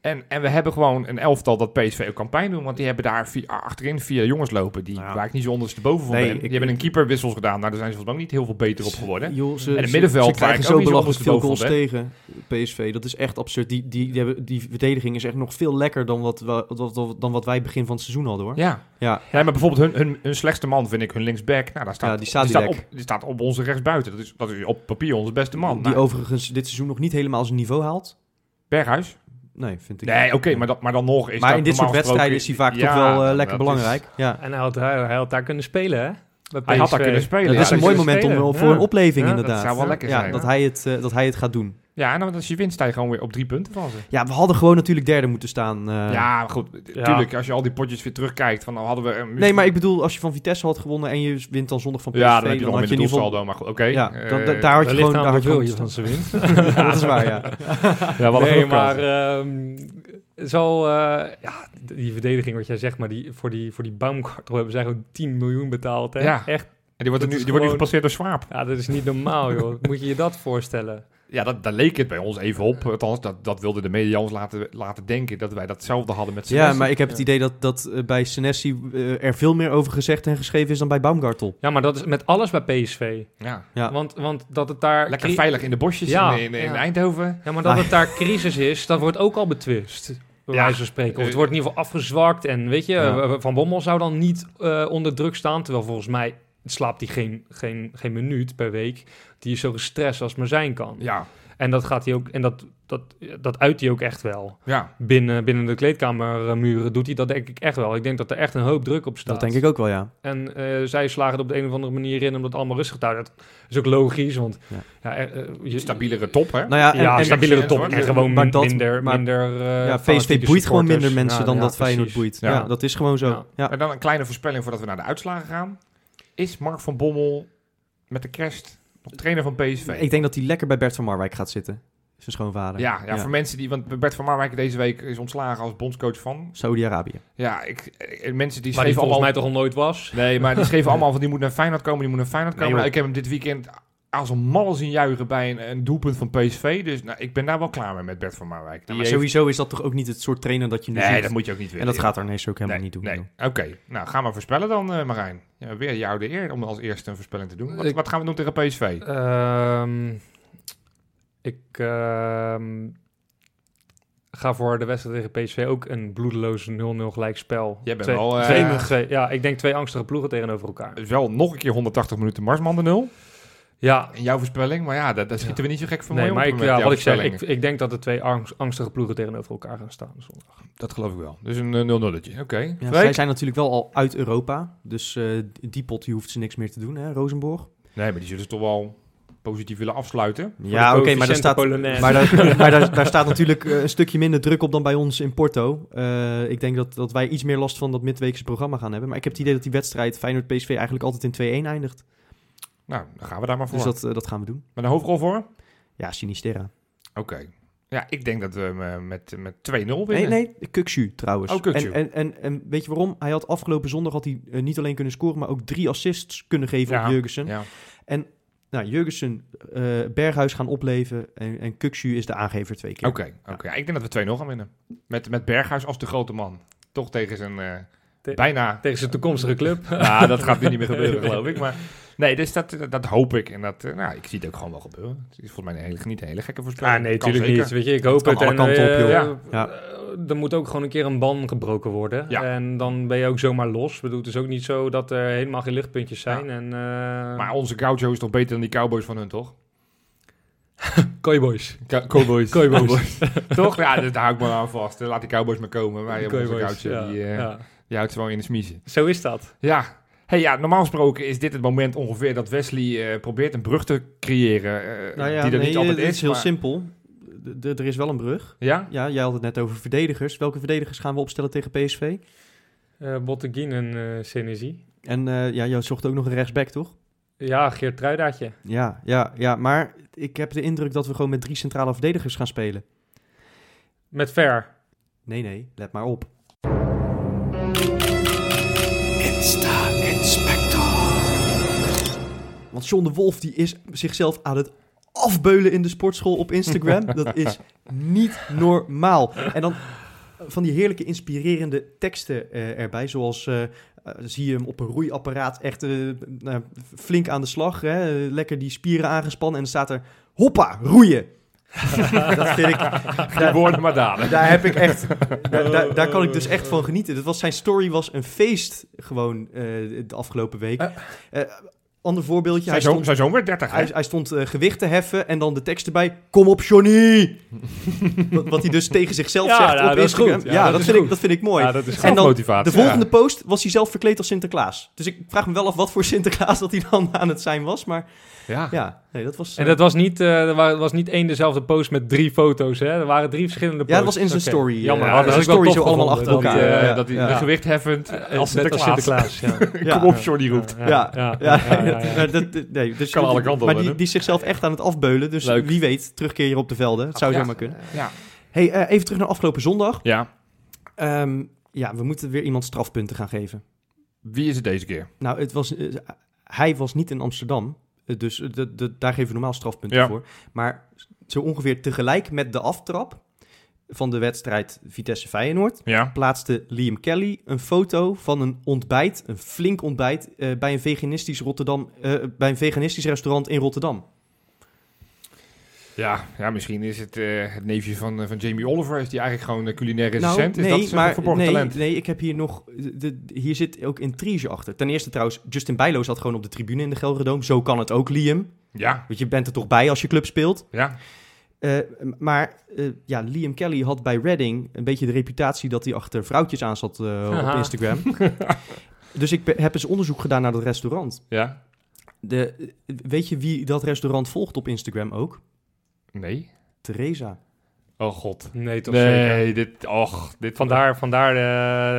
En, en we hebben gewoon een elftal dat PSV ook kan pijn doen. Want die hebben daar vier, achterin vier jongens lopen. Die
Ja.
waar ik niet zo ondersteboven van
Nee,
ben.
ik-
Die hebben een keeperwissels gedaan. Nou, daar zijn ze volgens mij ook niet heel veel beter op geworden.
Joh, ze,
En het
ze-
middenveld
ze
waar ik
krijgen
ook
zo
niet zo
belachelijk veel goals
ondersteboven
tegen PSV. Dat is echt absurd. Die, die, die, hebben- die verdediging is echt nog veel lekker dan wat, we- wat- wat- dan wat wij begin van het seizoen hadden hoor.
Ja.
Ja.
ja, maar bijvoorbeeld hun, hun, hun slechtste man vind ik hun linksback. Nou, daar staat,
Ja, die staat
staat,
direct.
op, die staat op onze rechtsbuiten. Dat is, dat is op papier onze beste man.
die
Nou,
overigens dit seizoen nog niet helemaal zijn niveau haalt.
Berghuis.
Nee, vind ik.
Nee, oké, maar, dat- maar dan nog is
maar
dat
in dit soort
normaal
wedstrijden is hij
gesproken-
vaak toch
Ja,
wel eh,
dat
lekker
is-
belangrijk. Ja.
En hij had, hij, hij had daar kunnen spelen, hè? Bij
Hij had daar
PSV.
kunnen spelen.
dat
ja. dus-
is een
dat
mooi
is-
moment om, eh,
spelen,
voor
ja.
een opleving
Ja, dat
inderdaad.
zou wel lekker
ja,
zijn,
dat
hè?
hij, het, eh, dat hij het gaat doen.
Ja, en dan als je winst sta je gewoon weer op drie punten van ze.
Ja, we hadden gewoon natuurlijk derde moeten staan. eh.
ja, maar goed.
Ja.
Tuurlijk, als je al die potjes weer terugkijkt, van nou hadden we... een-
Nee, maar ik bedoel, als je van Vitesse had gewonnen en je wint dan zondag van PSV,
Ja, dan heb je nog
had
een
je in ieder geval...
doelsaldo, maar goed, oké.
Ja,
Eh,
dan, da- daar had je
Wellicht
gewoon...
aan
Daar had je
hoeveel
gewoon
je van ze wint.
(laughs)
gestaan. dat is waar, ja.
ja, wat een
nee,
gelukkig
maar
kans.
ehm, het zal, eh, ja, d- die verdediging wat jij zegt, maar die, voor die, voor die Baumgartel hebben ze eigenlijk 10 miljoen betaald. Hè?
Ja.
Echt,
En die wordt,
dat
nu,
is
die wordt nu
gewoon-
gepasseerd door Swaap.
ja, dat is niet normaal, joh. (laughs) Moet je je dat voorstellen?
Ja, dat, daar leek het bij ons even op. Althans, dat, dat wilde de media ons laten, laten denken, dat wij datzelfde hadden met
Ja,
Senesi.
maar ik heb het idee dat, dat eh, bij Senesi eh, er veel meer over gezegd en geschreven is dan bij Baumgartel.
Ja, maar dat is met alles bij PSV.
Ja.
Ja.
Want, want dat het daar...
Lekker
cri-
veilig in de bosjes
Ja,
in, in, in
ja.
Eindhoven.
Ja, maar dat
Ah.
het daar crisis is, dat wordt ook al betwist. Bij
Ja.
wijze van spreken. Of het
Eh.
wordt in ieder geval afgezwakt. En weet je,
Ja.
eh, Van Bommel zou dan niet eh, onder druk staan. Terwijl volgens mij slaapt hij geen, geen, geen minuut per week. Die is zo gestrest als maar zijn kan.
Ja,
En dat gaat hij ook. En dat, dat, dat uit hij ook echt wel.
ja.
Binnen, binnen de kleedkamermuren doet hij dat denk ik echt wel. Ik denk dat er echt een hoop druk op staat.
Dat denk ik ook wel, ja.
En eh, zij slagen het op de een of andere manier in om dat allemaal rustig te houden. Dat is ook logisch, want
Ja.
ja, eh, eh, je,
Stabielere top, hè?
Nou ja, en,
ja,
en-
stabielere
en-
top
en-
en gewoon
maar
min-
dat-
minder,
maar-
minder eh,
ja, PSV
fanatieke
boeit gewoon
supporters.
minder mensen
Ja,
dan
ja,
dat Feyenoord
precies.
boeit. Ja.
Ja.
dat is gewoon zo.
Ja.
Ja.
En dan een kleine voorspelling voordat we naar de uitslagen gaan. Is Mark van Bommel met de kerst nog trainer van PSV?
Ik denk dat hij lekker bij Bert van Marwijk gaat zitten. Zijn schoonvader.
Ja, ja, voor mensen die... Want Bert van Marwijk deze week is ontslagen als bondscoach van...
Saudi-Arabië.
Ja, ik, eh, mensen die
Waar die
schreven
volgens
allemaal...
mij toch al nooit was.
Nee, maar die schreven allemaal van die moet naar Feyenoord komen, die moet naar Feyenoord komen.
joh.
Nou, ik heb hem dit weekend als een malle zien juichen bij een, een doelpunt van PSV. Dus nou, ik ben daar wel klaar mee met Bert van Marwijk. Die
maar
heeft-
sowieso is dat toch ook niet het soort trainer dat je nu
Nee,
ziet.
dat moet je ook niet willen.
en dat gaat Arnees ook helemaal
nee,
niet doen.
Nee. Oké, nou gaan we voorspellen dan, eh, Marijn. Ja, weer jou de eer om als eerste een voorspelling te doen. Wat,
Ik-
wat gaan we doen tegen PSV?
Ehm, ik ehm, ga voor de wedstrijd tegen PSV ook een bloedeloos 0-0 gelijkspel.
Jij bent
Twee-
wel, eh,
twee- twee- Ja, ik denk twee angstige ploegen tegenover elkaar.
Dus wel nog een keer 180 minuten Marsman de nul.
Ja,
In jouw voorspelling, maar ja, daar, daar schieten we niet zo gek van
nee,
mee
maar
op
ik,
met
ja,
jouw
wat ik zeg, ik,
voorspellingen.
ik denk dat de twee angst- angstige ploegen tegenover elkaar gaan staan. zondag.
Dat geloof ik wel. Dus een 0 0 Oké.
Ja,
Freek?
zij zijn natuurlijk wel al uit Europa. Dus eh, die pot die hoeft ze niks meer te doen, hè, Rosenborg.
Nee, maar die zullen ze toch wel positief willen afsluiten.
Ja, oké, maar, daar
coëfficiënte
staat,
Polonaise.
maar,
(laughs)
daar, maar daar, daar staat natuurlijk eh, een stukje minder druk op dan bij ons in Porto. Eh, ik denk dat, dat wij iets meer last van dat midweekse programma gaan hebben. Maar ik heb het idee dat die wedstrijd Feyenoord-PSV eigenlijk altijd in 2-1 eindigt.
Nou, dan gaan we daar maar voor.
Dus dat, eh, dat gaan we doen.
Met een hoofdrol voor? Oké.
Ja, Sinisterra.
Ja, ik denk dat we hem, eh, met, met 2-0 winnen.
Nee, nee, Kukshu trouwens.
Oh, Kukçu.
En, en, en, en weet je waarom? Hij had afgelopen zondag had hij, eh, niet alleen kunnen scoren, maar ook drie assists kunnen geven
Ja,
op Jurgensen.
Ja.
Nou, Jurgensen, eh, Berghuis gaan opleven en, en Kukshu is de aangever twee keer.
Oké, oké. Ja, ik denk dat we 2-0 gaan winnen. Met, met Berghuis als de grote man. Toch tegen zijn eh,
Te- (laughs)
bijna...
Tegen zijn toekomstige club.
nou, dat gaat nu niet meer gebeuren, geloof ik. Maar nee, dus dat, dat, dat hoop ik. En dat, eh, nou, ik zie het ook gewoon wel gebeuren. Het is volgens mij een hele, niet een hele gekke voorspelling.
Ah, nee,
Kan
natuurlijk
zeker.
niet. Weet je, ik hoop
kan
het.
alle
en,
kanten op,
eh,
joh.
Ja.
eh, Er moet ook gewoon een keer een ban gebroken worden.
Ja.
En dan ben je ook zomaar los. Ik bedoel, het is ook niet zo dat er helemaal geen lichtpuntjes zijn. En, eh
Maar onze Gaucho is toch beter dan die Cowboys van hun, toch?
Cowboys.
(laughs) Cowboys.
Cowboys.
toch? Ja, dus daar hou ik me aan vast. Laat die Cowboys maar komen. Wij hebben onze
Cowboys,
Gaucho,
ja,
die, eh,
ja.
die houdt ze wel in de smiezen.
Zo is dat.
Ja. Hey, ja, normaal gesproken is dit het moment ongeveer dat Wesley eh, probeert een brug te creëren. eh,
Nou ja,
die er
nee,
niet altijd
het
is.
is heel
maar-
simpel. D- d- er is wel een brug.
Ja?
Ja, jij had het net over verdedigers. Welke verdedigers gaan we opstellen tegen PSV?
Eh Botteguin en eh Senesi.
En eh, ja, jij zocht ook nog een rechtsback, toch?
Ja, Geert Truidaatje.
Ja, ja, ja. Maar ik heb de indruk dat we gewoon met drie centrale verdedigers gaan spelen.
Met Ver.
Nee, nee, let maar op. Want John de Wolf die is zichzelf aan het afbeulen in de sportschool op Instagram. Dat is niet normaal. En dan eh, van die heerlijke inspirerende teksten eh, erbij. Zoals eh, eh, zie je hem op een roeiapparaat echt eh, nou, flink aan de slag. Hè? Lekker die spieren aangespannen. En dan staat er hoppa, roeien. (laughs) dat vind ik,
Geen woorden, maar daden.
daar heb ik echt, daar, daar, daar kan ik dus echt van genieten. Dat was, zijn story was een feest gewoon eh, de afgelopen week.
Eh.
Eh, ander voorbeeldje, hij
Zijn zoon,
stond,
zijn zoon werd 30, hè?
hij, hij stond eh, gewicht te heffen en dan de tekst erbij, kom op Johnny! wat, wat hij dus tegen zichzelf
Ja,
zegt
nou,
op
dat is
Instagram.
goed. Ja,
Ja,
dat
dat,
is
vind ik,
goed.
dat vind ik mooi.
Ja, dat is
en
en
dan-
motivatie.
de volgende post was hij zelf verkleed als Sinterklaas. Dus ik vraag me wel af wat voor Sinterklaas dat hij dan aan het zijn was. Maar
Ja.
ja, nee, dat was...
En
eh,
dat was niet, eh, er wa- was niet één dezelfde post met drie foto's. Hè? Er waren drie verschillende posts.
ja, dat was in zijn
Oké.
story.
Jammer,
eh,
dat
zijn
had ik wel
story
tof
zo allemaal achter
gevonden,
Dat,
elkaar.
hij, eh,
Ja,
dat hij
ja.
de gewicht heffend (laughs)
Eh,
als
net als
Sinterklaas.
Sinterklaas.
(laughs)
ja.
Kom op, Jordi roept.
eh, Ja, ja,
ja,
ja, dat- dat- nee, dus,
Kan alle kanten op,
Maar
hè,
die,
hè?
die is zichzelf echt aan het afbeulen. Dus
Leuk.
wie weet, terugkeer hier op de velden. Het zou
Ja.
zomaar kunnen.
Ja.
Hey, eh, even terug naar afgelopen zondag.
ja.
Ehm, ja, we moeten weer iemand strafpunten gaan geven.
Wie is het deze keer?
Nou, het was, eh, hij was niet in Amsterdam. eh, Dus eh, dat- dat- daar geven we normaal strafpunten
Ja.
voor. Maar zo ongeveer tegelijk met de aftrap van de wedstrijd Vitesse-Feyenoord
Ja.
plaatste Liam Kelly een foto van een ontbijt, een flink ontbijt, eh, bij, een veganistisch Rotterdam, eh, bij een veganistisch restaurant in Rotterdam.
Ja, ja misschien is het eh, het neefje van, eh, van Jamie Oliver. Is die eigenlijk gewoon eh, culinair resistent? is dat zijn verborgen
Nou, nee,
talent?
nee, ik heb hier nog, eh, de, hier zit ook intrige achter. Ten eerste trouwens, Justin Bijlo zat gewoon op de tribune in de Gelredome. Zo kan het ook, Liam.
Ja,
Want je bent er toch bij als je club speelt.
ja.
Eh, m- maar eh, ja, Liam Kelly had bij Reading een beetje de reputatie dat hij achter vrouwtjes aan zat eh, op
Haha.
(laughs)
Instagram. dus ik be- heb eens onderzoek gedaan naar dat restaurant.
Ja.
De, eh, weet je wie dat restaurant volgt op Instagram ook?
Nee.
Theresa.
Oh god.
Nee, toch zeker.
Nee, dit... Och, dit...
Vandaar, vandaar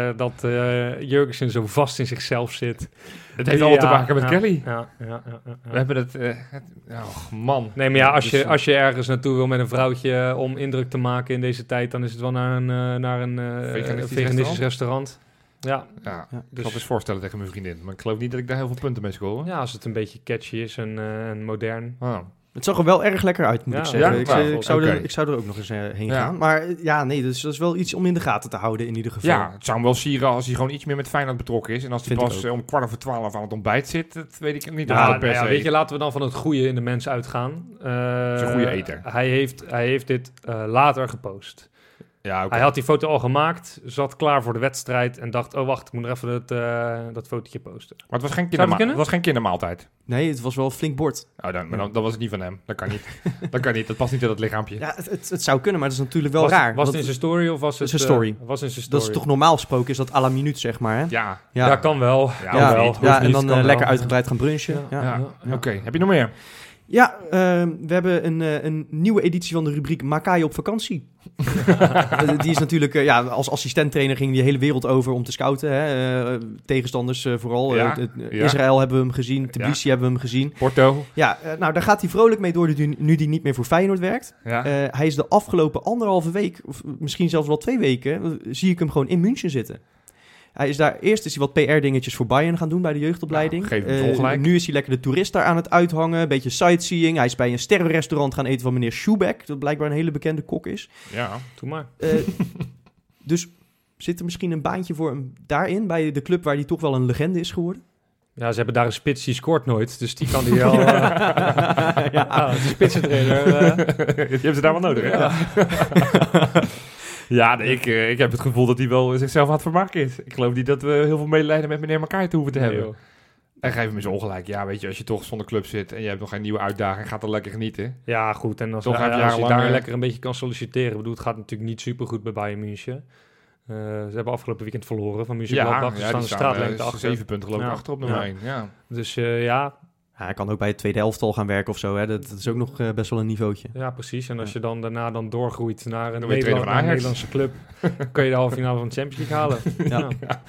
eh, dat eh Jurgensen zo vast in zichzelf zit.
Het heeft allemaal
Ja,
te maken met
ja,
Kelly.
Ja, ja, ja, ja, ja.
We hebben het... eh, het- oh, man.
Nee, maar ja, als
Dus,
je,
eh,
als je ergens naartoe wil met een vrouwtje eh, om indruk te maken in deze tijd, dan is het wel naar een, eh, naar een eh,
Veganistisch
veganistisch restaurant. Ja. dus-
Ja,
Ja,
ik zal het eens voorstellen tegen mijn vriendin. Maar ik geloof niet dat ik daar heel veel punten mee scoren.
ja, als het een beetje catchy is en, eh, en modern.
Ah.
Het zag er wel erg lekker uit, moet
Ja,
ik zeggen.
ja,
ik,
nou,
eh, ik, zou er,
oké.
ik zou er ook nog eens eh, heen
Ja.
gaan. Maar eh, ja, nee, dus dat is wel iets om in de gaten te houden in ieder geval.
ja, eh, het zou hem wel sieren als hij gewoon iets meer met Feyenoord betrokken is. En als hij
Vind ik
pas
ook.
eh, om kwart over twaalf aan het ontbijt zit, dat weet ik niet.
Ja,
of dat
nou
per
ja,
se-
weet je, laten we dan van het goede in de mens uitgaan. Eh,
is een goede eter.
Hij heeft, hij heeft dit eh, later gepost.
ja, oké.
Hij had die foto al gemaakt, zat klaar voor de wedstrijd en dacht, oh wacht, ik moet nog even dat, eh, dat fotootje posten.
Maar het was geen,
Zou dat
kinderma-
kunnen?
het was geen kindermaaltijd.
Nee, het was wel een flink bord.
Oh, dan, maar dan, dan was het niet van hem. Dat kan
(laughs)
niet. dat kan niet. Dat past niet in dat lichaampje.
Ja, het, het, het zou kunnen, maar dat is natuurlijk wel
was,
raar.
Was het
want
in zijn story of was het...
Zijn
eh,
story.
was in zijn story.
dat is toch normaal gesproken, is dat à la minuut, zeg maar. Hè?
Ja.
Ja, kan wel.
Ja,
kan
hoeft
wel.
niet.
Hoeft
ja, en
niet,
dan
kan
eh,
wel.
lekker uitgebreid gaan brunchen. Ja.
Ja. Oké, heb je nog meer?
Ja, ehm, we hebben een, eh, een nieuwe editie van de rubriek Makai op (laughs) vakantie. Eh, die is natuurlijk, eh, ja, als assistenttrainer ging die de hele wereld over om te scouten. Hè? Eh, tegenstanders eh, vooral.
Ja,
Eh, het- het-
ja.
Israël hebben we hem gezien, Tbilisi hebben we hem gezien.
Porto.
Ja, eh, nou daar gaat hij vrolijk mee door dat hij nu die niet meer voor Feyenoord werkt.
Ja.
Eh, hij is de afgelopen anderhalve week, of misschien zelfs wel twee weken, eh, zie ik hem gewoon in München zitten. Hij is daar, eerst is hij wat PR-dingetjes voor Bayern gaan doen bij de jeugdopleiding.
Nou, geef hem het
Eh,
ongelijk.
nu is hij lekker de toerist daar aan het uithangen, een beetje sightseeing. Hij is bij een sterrenrestaurant gaan eten van meneer Schubeck, dat blijkbaar een hele bekende kok is.
ja.
Doe maar.
(laughs)
Eh, dus zit er misschien een baantje voor hem daarin, bij de club waar hij toch wel een legende is geworden?
Ja, ze hebben daar een spits die scoort nooit, dus die kan
(laughs)
die wel... eh, (laughs) ja, de spitsentrainer. eh,
(laughs) Je hebt ze daar wel nodig, hè? Ja, nee, ik, eh, ik heb het gevoel dat hij wel zichzelf aan het vermaken is. Ik geloof niet dat we heel veel medelijden met meneer Makai te hoeven te hebben.
joh.
En geef hem eens ongelijk. Ja, weet je, als je toch zonder club zit en je hebt nog geen nieuwe uitdaging, gaat dan lekker genieten.
Ja, goed. En als,
Toch
ja,
heb je
als je
jarenlang,
daar
eh,
lekker een beetje kan solliciteren. Ik bedoel, het gaat natuurlijk niet super goed bij Bayern München. Eh, ze hebben afgelopen weekend verloren van
Dus
München. Gladbach. Ze staan de straatlengte
eh,
achter.
zeven punten geloof ik
Ja.
achter op nummer
Ja.
1. Ja.
Dus eh, ja,
Ja, hij kan ook bij het tweede elftal gaan werken of zo, hè? Dat, dat is ook nog eh, best wel een niveautje.
ja, precies. En als
Ja.
je dan daarna dan doorgroeit naar een,
Dan word je
Nederland-
trainer van
naar een
Ajax.
Nederlandse
(laughs)
club... kun je de halve finale van de Champions League halen.
Ja.
Ja.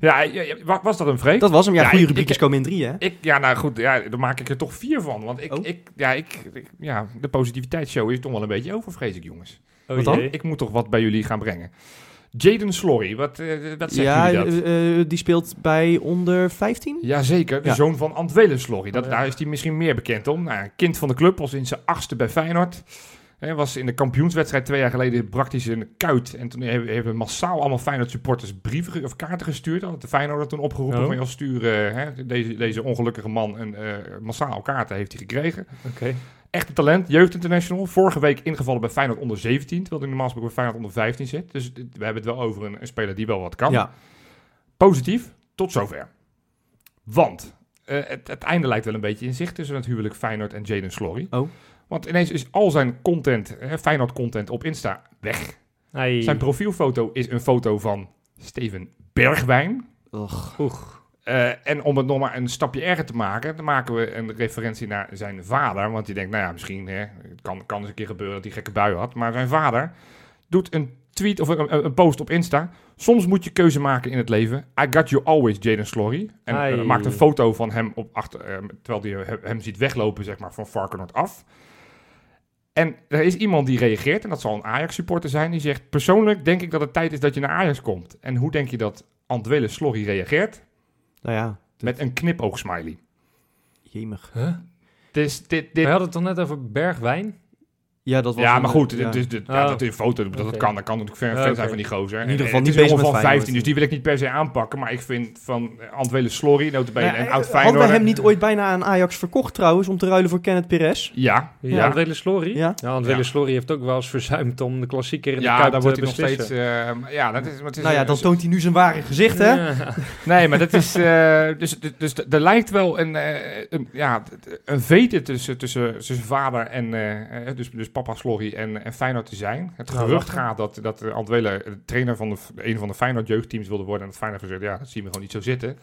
Ja, ja, ja, wa- was dat een vreemd?
Dat was hem, ja,
Ja,
goede
ik-
rubriekjes
ik-
komen in drie, hè?
Ik, ja, nou goed, ja, daar maak ik er toch vier van. Want ik,
Oh.
ik, ja, ik, ik- ja, de positiviteitsshow is toch wel een beetje over, vrees ik, jongens.
Oh,
Wat dan?
jee.
Ik moet toch wat bij jullie gaan brengen. Jaden Slory, wat, eh, wat zeggen
ja,
jullie dat?
eh, eh, die speelt bij onder 15.
Jazeker, de
Ja.
zoon van Antwele Slorry. Dat,
Oh, ja.
Daar is hij misschien meer bekend om. Nou, een kind van de club, was in zijn achtste bij Feyenoord. Hij was in de kampioenswedstrijd twee jaar geleden praktisch een kuit. En toen hebben, hebben massaal allemaal Feyenoord supporters brieven ge- of kaarten gestuurd. Dat had de Feyenoord toen opgeroepen
Oh.
van, joh, stuur eh, hè, deze, deze ongelukkige man een eh, massaal kaarten heeft hij gekregen.
Oké.
Echt een talent, jeugd international. Vorige week ingevallen bij Feyenoord onder 17, terwijl hij normaal gesproken bij Feyenoord onder 15 zit. Dus dit- we hebben het wel over een, een speler die wel wat kan
Ja,
positief tot zover. Want eh, het, het einde lijkt wel een beetje in zicht tussen het huwelijk Feyenoord en Jaden Slory.
Oh.
Want ineens is al zijn content, eh, Feyenoord-content op Insta weg.
Hey.
Zijn profielfoto is een foto van Steven Bergwijn.
Oeg.
Eh, en om het nog maar een stapje erger te maken, dan maken we een referentie naar zijn vader. Want je denkt, nou ja, misschien hè, het kan, kan eens een keer gebeuren dat hij gekke bui had. Maar zijn vader doet een tweet of een, een- een post op Insta. Soms moet je keuze maken in het leven. I got you always, Jaden Slory. En eh,
Ai.
maakt een foto van hem op achter, eh, terwijl hij hem- hem ziet weglopen zeg maar, van Varkenoord af. En er is iemand die reageert, en dat zal een Ajax-supporter zijn, die zegt... Persoonlijk denk ik dat het tijd is dat je naar Ajax komt. En hoe denk je dat Antwele Slory reageert?
nou ja,
Met een knipoog-smiley.
jemig.
Dus dit,
We
dit,
hadden het toch net over Bergwijn?
Ja, dat was
ja,
een- eh,
maar goed,
ja.
dit, is dit,
Oh.
ja, dat is een foto, dat, dat
Oké.
kan. Dat kan natuurlijk ver
Ja,
fan
oké.
zijn van die gozer. En-
In ieder geval
en het
niet
is een
bezig
jongen
met
van 15,
Feyenoord.
dus die wil ik niet per se aanpakken. Maar ik vind van eh, Antwele Slory, notabene,
Nou ja,
een
eh,
oud
Hadden we hem
Feyenoord.
niet ooit bijna aan Ajax verkocht trouwens, om te ruilen voor Kenneth Perez?
Ja,
Ja.
ja.
André Slory?
Ja.
Ja, André
Ja.
Slory heeft ook wel eens verzuimd om de klassieker in de
Ja,
Kuip
daar
te
wordt hij nog
beslissen.
steeds... eh, maar ja, dat is, maar het Dus- is
Nou ja,
een-
dan toont hij nu zijn ware gezicht, hè?
Ja. (laughs)
Nee, maar dat is. eh, dus, dus, dus d- er lijkt wel een, eh, een, ja, d- een vete tussen, tussen, tussen vader en. eh, eh, dus, dus papa Slorry en, en Feyenoord te zijn. Het
Nou,
gerucht
lachen.
gaat dat, dat eh, Antwele eh, trainer van de, f- een van de Feyenoord jeugdteams wilde worden. En dat Feyenoord heeft gezegd: ja, dat zien we gewoon niet zo zitten.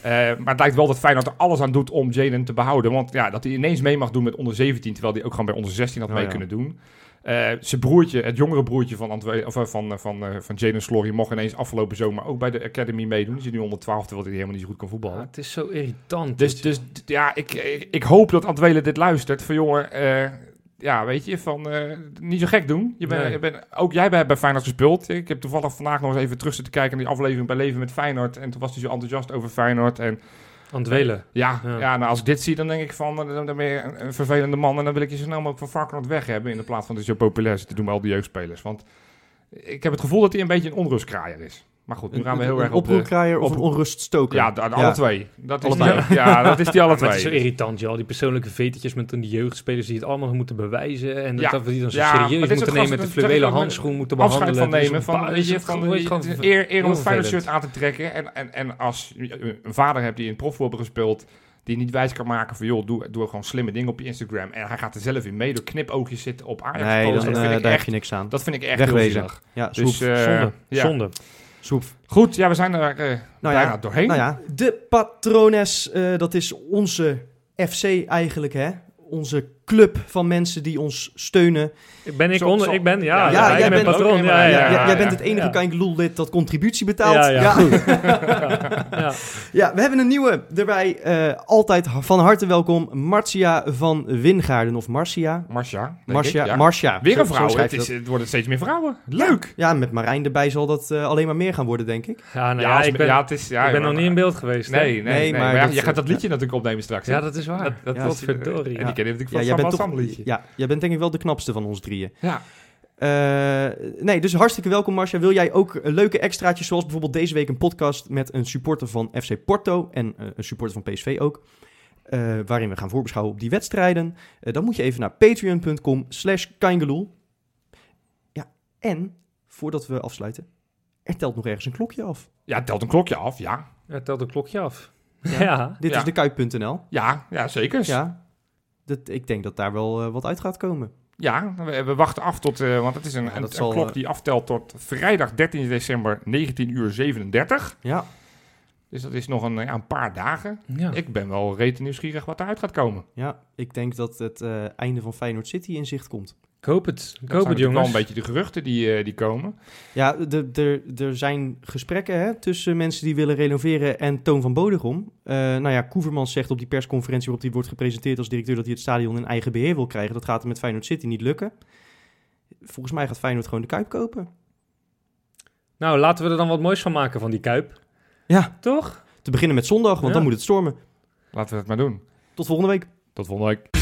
Eh, maar het lijkt wel dat Feyenoord er alles aan doet om Jaden te behouden. Want ja, dat hij ineens mee mag doen met onder 17, terwijl hij ook gewoon bij onder 16 had
Oh,
mee
ja.
kunnen doen. Eh, zijn broertje, het jongere broertje van, Antwe of, eh, van, eh, van, eh, van Jaden Slory, mocht ineens afgelopen zomer ook bij de Academy meedoen. Die is nu onder 12, terwijl hij helemaal niet zo goed kan
Ah,
voetballen.
het is zo irritant.
Dus, dus d- ja, ik, ik, ik hoop dat Antwelen dit luistert. Van jongen, eh, ja, weet je, van eh, niet zo gek doen. Je bent
Nee.
je bent- ook jij bent bij Feyenoord gespeeld. Ik heb toevallig vandaag nog eens even terug zitten kijken naar die aflevering bij Leven met Feyenoord. En toen was hij zo enthousiast over Feyenoord. En
Antwelen.
ja, ja.
Ja.
nou, als ik dit zie, dan denk ik van, eh, dan, dan ben je een, een vervelende man. En dan wil ik je zo snel mogelijk van Varkenoord weg hebben. In de plaats van dat je zo populair zit te doen bij al die jeugdspelers. Want ik heb het gevoel dat hij een beetje een onrustkraaier is. Maar goed, nu gaan we heel
een
erg op de...
oproerkraaier of een
oproer-
onruststoker?
Ja, de- de- alle twee. Dat is
Allebei.
die, ja, dat is die
(laughs)
alle
Maar het is zo
twee.
irritant, joh. Die persoonlijke vetetjes met dan die jeugdspelers die het allemaal moeten bewijzen. En dat,
Ja.
dat we die dan zo
Ja, maar dit
serieus
is
moeten
ook gast-
nemen met de
dat zeg ik
fluwelen
ook met-
handschoen moeten behandelen.
Afscheid van
Het is
nemen.
een
Van,
ba-
weet je,
het
van,
gewoon-
eh,
gewoon
het is
ver-
eer, eer om
heel
het Feyenoord
vervelend.
shirt aan te trekken. En, en, en als je een vader hebt die in het profvoetbal gespeeld... die niet wijs kan maken van... joh, doe, doe gewoon slimme dingen op je Instagram. En hij gaat er zelf in mee door knipoogjes zitten op Ajax.
Nee,
dat,
dan, eh,
vind ik
daar heb
echt,
je niks aan.
dat vind ik echt heel
Wegwezen.
zielig.
Ja, soep.
Dus, eh,
Zonde,
ja.
zonde.
soep.
Goed, ja, we zijn er eh,
Nou
bijna
ja,
doorheen.
Nou ja, de patrones, eh, dat is onze FC eigenlijk, hè? onze club van mensen die ons steunen.
Ben ik
Zo-
onder?
zo-
Ik ben,
Ja,
ja. ja,
jij
ik ben
bent
ook
patroon.
een-
Ja, ja,
Ja,
ja,
jij
ja.
bent het enige
Ja.
Kain Loel lid dat contributie betaalt.
Ja, ja.
Ja.
Ja.
(laughs) Ja, we hebben een nieuwe erbij. eh, altijd van harte welkom. Marcia van Wingaarden of Marcia.
Marcia. denk ik,
Marcia,
ja.
Marcia.
Weer
Zo-
een
zo
vrouw. hè?
schrijf
Het,
je
is,
dat.
het worden steeds meer vrouwen. Leuk.
Ja, met Marijn erbij zal dat eh, alleen maar meer gaan worden, denk ik.
Ja, nou
Ja,
ja,
als-
ik ben,
ja, het is, ja,
ik ben
maar-
nog niet in beeld geweest. hè?
Nee, nee, nee.
Nee,
maar,
maar
ja,
dat-
je gaat dat liedje natuurlijk opnemen straks. hè?
Ja, dat is waar.
Dat- dat
Ja,
was-
verdorie.
En die kennen natuurlijk
Ja,
van
jij
Sam
bent
en
toch,
Sam liedje.
ja, jij bent denk ik wel de knapste van ons drieën.
Ja.
Eh, nee, dus hartstikke welkom Marcia. Wil jij ook eh, leuke extraatjes, zoals bijvoorbeeld deze week een podcast met een supporter van FC Porto en eh, een supporter van PSV ook, eh, waarin we gaan voorbeschouwen op die wedstrijden, Eh, dan moet je even naar patreon.com slash kaingeloel. Ja, en voordat we afsluiten, er telt nog ergens een klokje af.
Ja, het telt een klokje af, ja.
Ja, telt een klokje af.
Ja.
Ja.
Dit
Ja. Dus-
is de Kuip.nl.
Ja, ja zeker. Ja,
Ja, dat, ik denk dat daar wel eh, wat uit gaat komen.
we, we wachten af tot, eh, want het is een,
Ja,
een-
dat
een
zal, eh,
klok die aftelt tot vrijdag 13 december 19 uur 37.
Ja,
Dus dat is nog een, eh, ja, een paar dagen.
Ja.
Ik ben wel rete nieuwsgierig wat eruit gaat komen.
ja ik denk dat het eh, einde van Feyenoord City in zicht komt.
Ik hoop het.
Dat
Ik
zijn
hoop het,
natuurlijk wel
jongens.
een beetje de geruchten die, eh, die komen.
Ja, de- de- er zijn gesprekken hè, tussen mensen die willen renoveren en Toon van Bodegom. Eh, nou ja, Koevermans zegt op die persconferentie waarop hij wordt gepresenteerd als directeur dat hij het stadion in eigen beheer wil krijgen. Dat gaat hem met Feyenoord City niet lukken. Volgens mij gaat Feyenoord gewoon de Kuip kopen.
Nou, laten we er dan wat moois van maken van die Kuip.
Ja.
Toch?
Te beginnen met zondag, want
Ja.
dan moet het stormen.
Laten we dat maar doen.
Tot volgende week.
Tot volgende week.